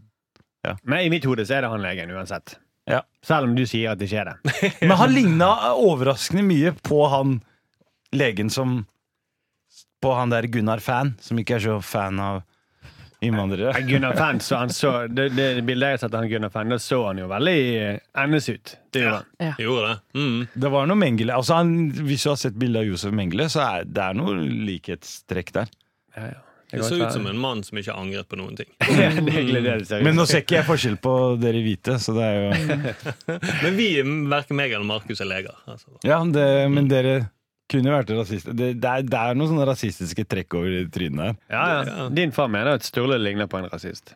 Men i mitt hode så er det han legen uansett. Ja. Selv om du sier at det ikke er det. Men han ligna overraskende mye på han legen som På han der Gunnar Fan, som ikke er så fan av innvandrere. Gunnar Fenn, så han så det, det bildet jeg har sett av han Gunnar Fenn, da så han jo veldig eh, endes ut. Det gjorde han. Gjorde det. Mm. Det var noe Mengele altså han, Hvis du har sett bilde av Josef Mengele, så er det er noe likhetstrekk der. Ja, ja. Det så ut som en mann som ikke angret på noen ting. Ja, det er egentlig det det ser ut Men som. nå ser ikke jeg forskjell på dere hvite, så det er jo Men vi, verken meg eller Markus, er leger. Altså. Ja, det, men dere kunne vært rasister. Det, det, er, det er noen sånne rasistiske trekk over trynet her. Ja, ja. Din far mener at Sturle ligner på en rasist.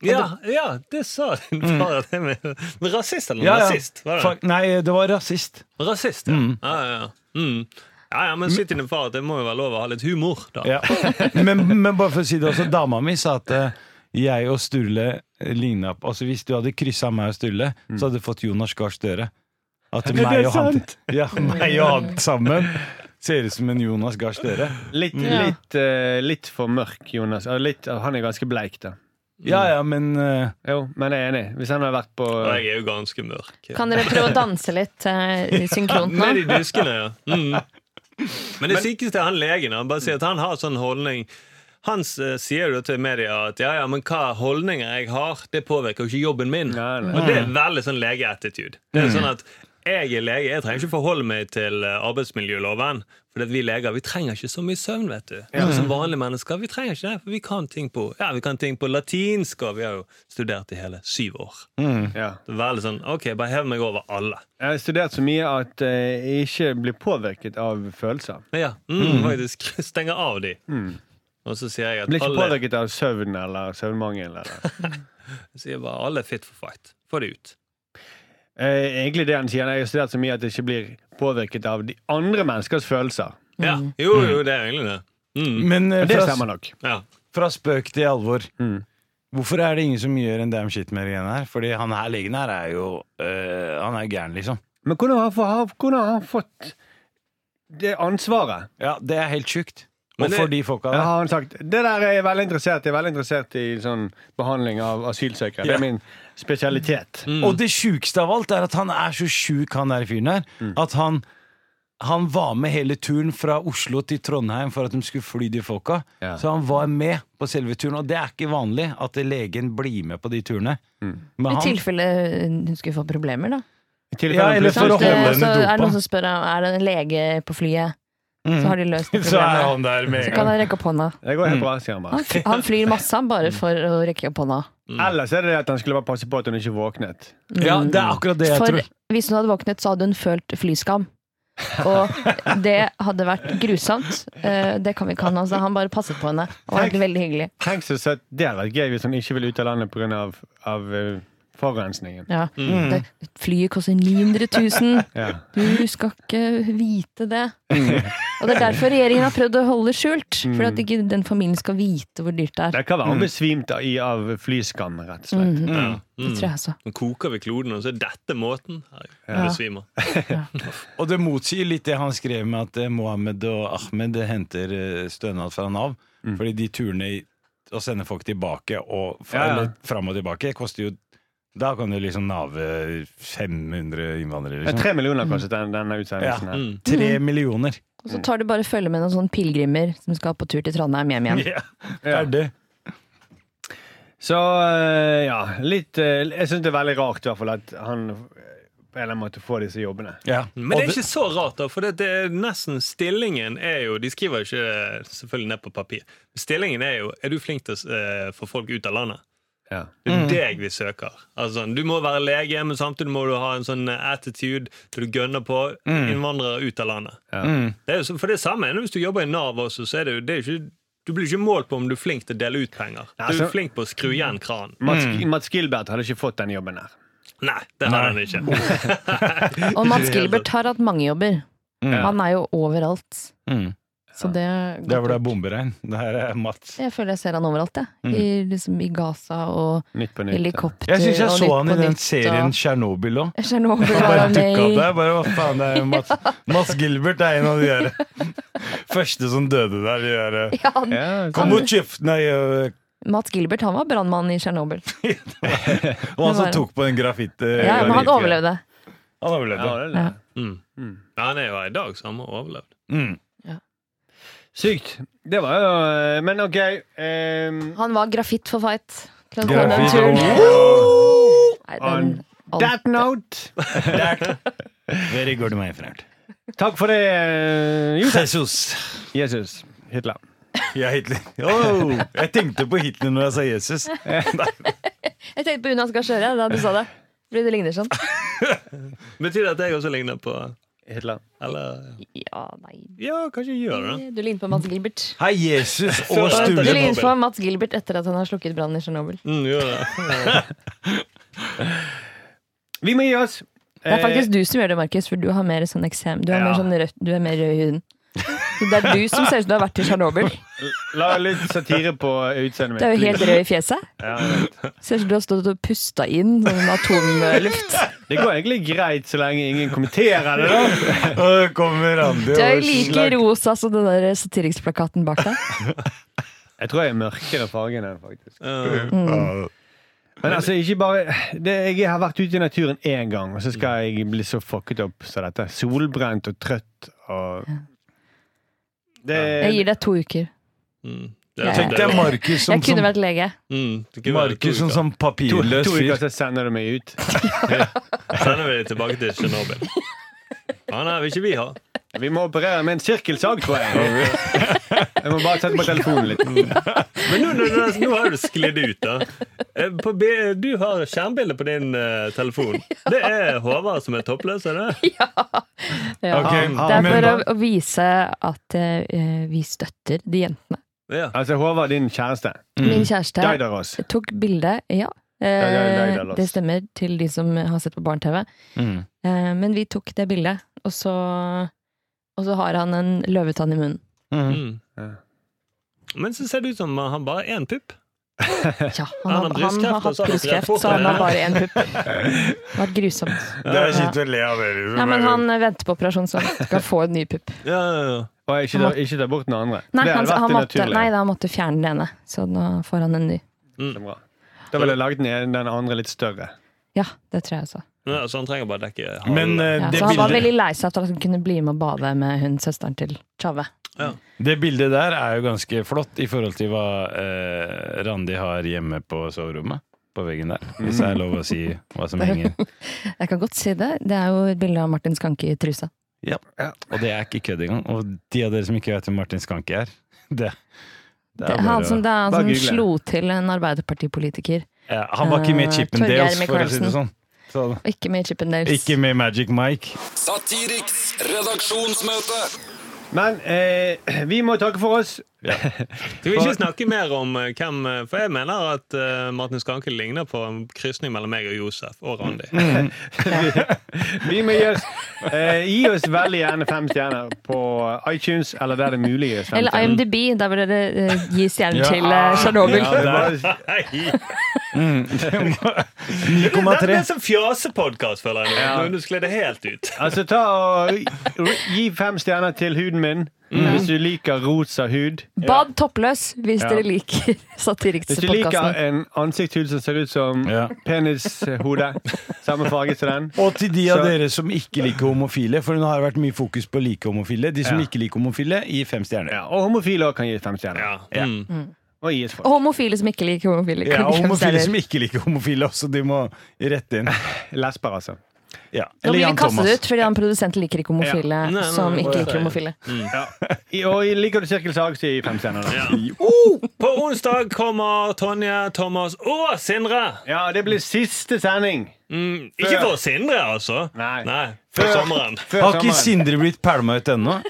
Ja, ja, det Mm. sa din far. at jeg mener. Men rasist eller Ja, ja. rasist? Var det? Fuck, Nei, det var rasist. Rasist, ja. Ja, ja, ja. Mm. ja, ja men si til din far at det må jo være lov å ha litt humor, da. Ja. Men, men bare for å si det også, dama mi sa at eh, jeg og Sturle ligna på Altså hvis du hadde kryssa meg og Sturle, Mm. så hadde du fått Jonas Gahr Støre. At meg og, han, ja, meg og han sammen ser ut som en Jonas Gahr Støre. Litt, litt, eh, litt for mørk, Jonas. Ja, Litt, han er ganske bleik, da. Ja ja, men eh, Jo, men jeg er enig. Hvis han hadde vært på Og jeg er jo ganske mørk. eh, Kan dere prøve å danse litt eh, i synkront nå? Med de duskene, ja. Mm. Men det sykeste er han legen. Han bare sier at han har sånn holdning Han eh, sier jo til media at ja, ja, men hva holdninger jeg har, det påvirker jo ikke jobben min. Nei, nei. Og det er veldig sånn legeattitude. Det er sånn at jeg er lege, jeg trenger ikke forholde meg til eh, arbeidsmiljøloven. For vi leger vi trenger ikke så mye søvn, vet du. Og Som vanlige mennesker vi trenger ikke det. For vi kan ting på ja, vi kan ting på latinsk, og vi har jo studert i hele syv år. ja. Det er Veldig sånn OK, bare hev meg over alle. Jeg har studert så mye at eh, jeg ikke blir påvirket av følelser. Ja, mm, faktisk. Stenger av de. Og så sier jeg Jeg blir at ikke alle, påvirket av søvn eller søvnmangel. Eller. sier bare, alle er fit for fight. Få de ut. Eh, egentlig det han sier, jeg har studert så mye at jeg ikke blir påvirket av de andre menneskers følelser. Ja. Jo, jo, det er egentlig det. Mm. Men eh, Og det fra, stemmer nok. Ja. fra spøk til alvor. Mm. Hvorfor er det ingen som gjør en damn shit med det greiene her? Fordi han her legen her er jo eh, Han er jo gæren, liksom. Men hvordan har han, få- har- hvordan har han fått det ansvaret? Ja, Det er helt sjukt. Og Men det- for de folka Ja, der. har han sagt Det der er jeg veldig interessert i. Jeg er veldig interessert i sånn behandling av asylsøkere. Det Ja. er min spesialitet. Mm. Og det sjukeste av alt er at han er så sjuk, han der fyren her, at han han var med hele turen fra Oslo til Trondheim for at de skulle fly de folka. Ja. Så han var med på selve turen, og det er ikke vanlig at legen blir med på de turene. Mm. Men I han- tilfelle hun skulle få problemer, da. I tilfelle Ja, han eller plutselig- for Sant? å Eh, holde Så henne er det dopa. Mm. noen som spør om er det en lege på flyet, så har de løst det Så er problemet. han der med Så en kan gang. han rekke opp hånda. Det går helt bra, sier han bare. Han, fly- han flyr masse han, Mm. bare for å rekke opp hånda. Ellers er det det at han skulle bare passe på at hun ikke våknet. Ja, det er akkurat det jeg Mm. For tror. hvis hun hadde våknet, så hadde hun følt flyskam. Og det hadde vært grusomt. Eh, Det kan vi ikke ha. Altså. Han bare passet på henne. Og var egentlig veldig hyggelig. Tenk så søtt. Det hadde vært gøy hvis han ikke ville ut av landet pga. Av, av eh, forurensningen. Ja. Mm. Det, flyet koster 900 000. Ja. Du skal ikke vite det. Mm. Og det er derfor regjeringen har prøvd å holde det skjult. For at ikke den familien skal vite hvor dyrt det er. Det kan være han besvimte i av flyskam, rett og slett. Det tror jeg altså. Nå koker vi kloden, og så er dette måten. Her, Ja. Besvimer. Og det motsier litt det han skrev med at eh, Mohammed og Ahmed henter eh, stønad fra Nav. Mm. Fordi de turene i- å sende folk tilbake og fra, Ja, ja. eller fram og tilbake koster jo Da kan du liksom nave 500 innvandrere. Det er Liksom. Tre millioner kostet den, denne utsendelsen. her. Mm. Tre millioner. Og så tar du bare følge med noen sånne pilegrimer som skal på tur til Trondheim hjem igjen. Ja. Ja. Ferdig. Så eh, ja, litt eh, Jeg syns det er veldig rart i hvert fall at han eh, på en eller annen måte får disse jobbene. Ja. Men det Og er ikke så rart, da, for det, det er nesten stillingen er jo De skriver jo ikke eh, selvfølgelig ned på papir. Stillingen er jo Er du flink til å eh, få folk ut av landet? Ja. Det er deg vi søker. Altså, sånn, du må være lege, men samtidig må du ha en sånn eh, attitude der du gønner på innvandrere ut av landet. Det er jo, så- for det er samme hvis du jobber i Nav også, så er det jo, det er jo ikke du blir ikke målt på om du er flink til å dele ut penger. Du er Altså- jo flink på å skru igjen kranen. Mats, Mm. Mats Gilbert hadde ikke fått den jobben her. Nei, det har han ikke. Og Mads Gilbert har hatt mange jobber. Han er jo overalt. Mm. Så det er Det er hvor det er bomberegn. Det her er Mats. Jeg føler jeg ser han overalt, jeg. I, liksom, I Gaza og Nytt på nytt. helikopter Mm. Jeg syns jeg og så Nytt han i på den Nytt, serien og- Tsjernobyl òg. Jeg skjønner hvor Han bare han dukka opp er i. der. Bare, hva faen, det er jo Mats, Mats Gilbert er en av de der første som døde der. De der eh, Ja, han- Ja, Kom og kjøp Nei, øh, Mads Gilbert han var brannmann i Tsjernobyl. og han som Det var- tok på den grafitt... øh, Ja, men han grafitt- overlevde. Han overlevde. ja, det er det. Mm. Men han er jo her i dag, så han må ha overlevd. Mm. Sykt. Det var jo eh, Men OK. ehm, Han var grafitt for fight. Klaus Holmen Grafitt Tull. Woo! Nei, On den- alt- that note Very good, my friend. Takk for det, eh, Josef. Jesus. Jesus. Hitler. Ja, Hitler. Oh, jeg tenkte på Hitler når jeg sa Jesus. Jeg tenkte på Jonas Gahr Støre da du sa det. Fordi det ligner sånn. Betyr det at jeg også ligner på Hitler. Eller Ja, nei Ja, kanskje jeg gjør det. Du ligner på Mads Gilbert. Hei, Jesus og Du Sture. ligner på Mads Gilbert etter at han har slukket brannen i Tsjernobyl. Mm, gjør det. Vi må gi oss. Det er faktisk du som gjør det, Markus, for du har mer sånn eksem. Du er Eh, Ja. mer sånn rødt, du er mer rød i huden. Så det er du som ser ut som du har vært i Tsjernobyl. Eh, La litt satire på utseendet mitt. Du er jo helt please. rød i fjeset. Ja, jeg vet. Ser ut som du har stått og pusta inn sånn atomluft. det går egentlig greit så lenge ingen kommenterer det. da Og kommer Randi Du er og jo like slakter. rosa som den der satiriksplakaten bak deg. Jeg tror jeg er mørkere fargen enn faktisk. Uh, Men altså, ikke bare det, Jeg har vært ute i naturen én gang, og så skal jeg bli så fucket opp som dette. Solbrent og trøtt og det, Jeg gir deg to uker. mm. Ja, ja. Det er Tenkte jeg deilig. Markus som, Jeg kunne som, vært lege. Mm, det kunne være to Markus som, uker. som to, papirløs to uker, fyr. så sender du meg ut. Sender vi det tilbake til Tsjernobyl. Han her vil ikke vi ha. Vi må operere med en sirkelsag, tror jeg. Jeg må bare sette på telefonen litt. Men nå, nå, nå, nå har du sklidd ut, da. Eh, På, B- du har skjermbilde på din eh, telefon. Det er Håvard som er toppløs, er det? Ja. Ok, Ah, Det er for å, men, å vise at eh, vi støtter de jentene. Ja. Altså, Håvard, din kjæreste. Mm. Min kjæreste Daidaros. tok bilde, ja. ja, Eh, ja, la oss. Det stemmer til de som har sett på Barne-TV. Mm. Eh, Men vi tok det bildet, og så, og så har han en løvetann i munnen. Mm. Mm. Ja. Men så ser det ut som han bare har én pupp. Ja, han, har, Han har han brystkreft, har og hatt så har han brystkreft, kreft. så han har bare én pupp. Det har vært grusomt. Det er kjipt å le av det. liksom. Nei, men han eh, venter på operasjon, så han skal få en ny pupp. Ja, ja, ja. Og ikke ta, ikke ta bort den andre. Nei, han, det hadde vært han, måtte, unaturlig. nei da, han måtte fjerne den ene, så nå får han en ny. Det er bra. Da ville jeg lagd den, den andre litt større. Ja, det tror jeg også. Ja, Så han trenger bare dekke halv. Men eh, Ja, det, så han var bildet, veldig lei seg for at han kunne bli med og bade med hun søsteren til Tjave. det bildet der er jo ganske flott i forhold til hva eh, Randi har hjemme på soverommet. På veggen der. Hvis det er lov å si hva som henger. Jeg kan godt si det. Det er jo et bilde av Martin Skanke i trusa. Og det er ikke kødd engang. Og de av dere som ikke vet hvem Martin Skanke er, det, det Det er er han bare som, å det er han Bare som google. slo til en Arbeiderpartipolitiker. ja, Han var ikke med i Eh, Chip and Torgeir Dales, for å si det sånn. Så, Og ikke med i Chippendales. ikke med Magic Mike. Satiriks redaksjonsmøte. Men eh, vi må takke for oss. Skal vi ikke snakke mer om eh, hvem eh, For jeg mener at eh, Martin Skanke ligner på en krysning mellom meg og Josef og Randi. Vi må gi oss, eh, gi oss veldig gjerne fem stjerner på iTunes, eller der det er mulig. å gi oss fem Eller stjerner. IMDb, der vil dere eh, gi stjernen Ja. til eh, Tsjernobyl. Ja, det var- Hei. 9,3. Dette er en sånn fjasepodkast, føler jeg. nå. Ja. Nå skled det helt ut. Altså, ta og Gi fem stjerner til huden min hvis du liker rosa hud. Bad toppløs, hvis Ja. dere liker Hvis du liker eh, Satiriks-podkasten. en ansiktshud som ser ut som Ja. penishode, samme farge som den Og til de av Så- dere som ikke liker homofile, for nå har det vært mye fokus på like homofile. De som Ja. ikke liker homofile, gir fem stjerner. ja, Og homofile òg kan gi fem stjerner. Ja. Ja. Mm. Og gis folk. Og homofile som ikke liker homofile. Ja, kan og ikke homofile observere. som ikke liker homofile også, de må rette inn. Lesber, altså. Ja. Nå blir Eller vi Jan kastet Thomas. ut fordi han produsenten liker ikke homofile Nei, nei, som nei, ikke nei. liker homofile. I, og liker du Sirkel Sag, så gi fem stjerner. Da. Ja. På onsdag kommer Tonje, Thomas og Sindre. Ja, det blir siste sending. Mm, ikke for Sindre, altså. Nei. Før sommeren. Før Har ikke sommeren. Sindre blitt pælma ut ennå?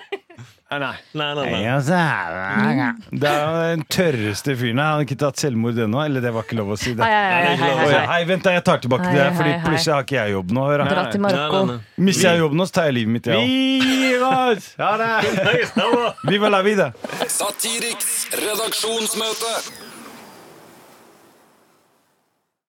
Ah, nei. Nei, nei, nei. Ja, så er Det Mm. Det er jo den tørreste fyren her. Han har ikke tatt selvmord ennå. Eller det var ikke lov å si det. Hei, hei, hei, hei, Å, hei, ja. hei. Hei, vent da, jeg tar tilbake det Hei, der, Fordi hei, hei. plutselig har ikke jeg jobb nå. Hør, da. Dra til Marokko. Nei, nei, Mister jeg jobben nå, så tar jeg livet mitt i hånd. Vi gir oss! Ha det! nei. Nei, stemmer. Viva la vida! Satiriks redaksjonsmøte.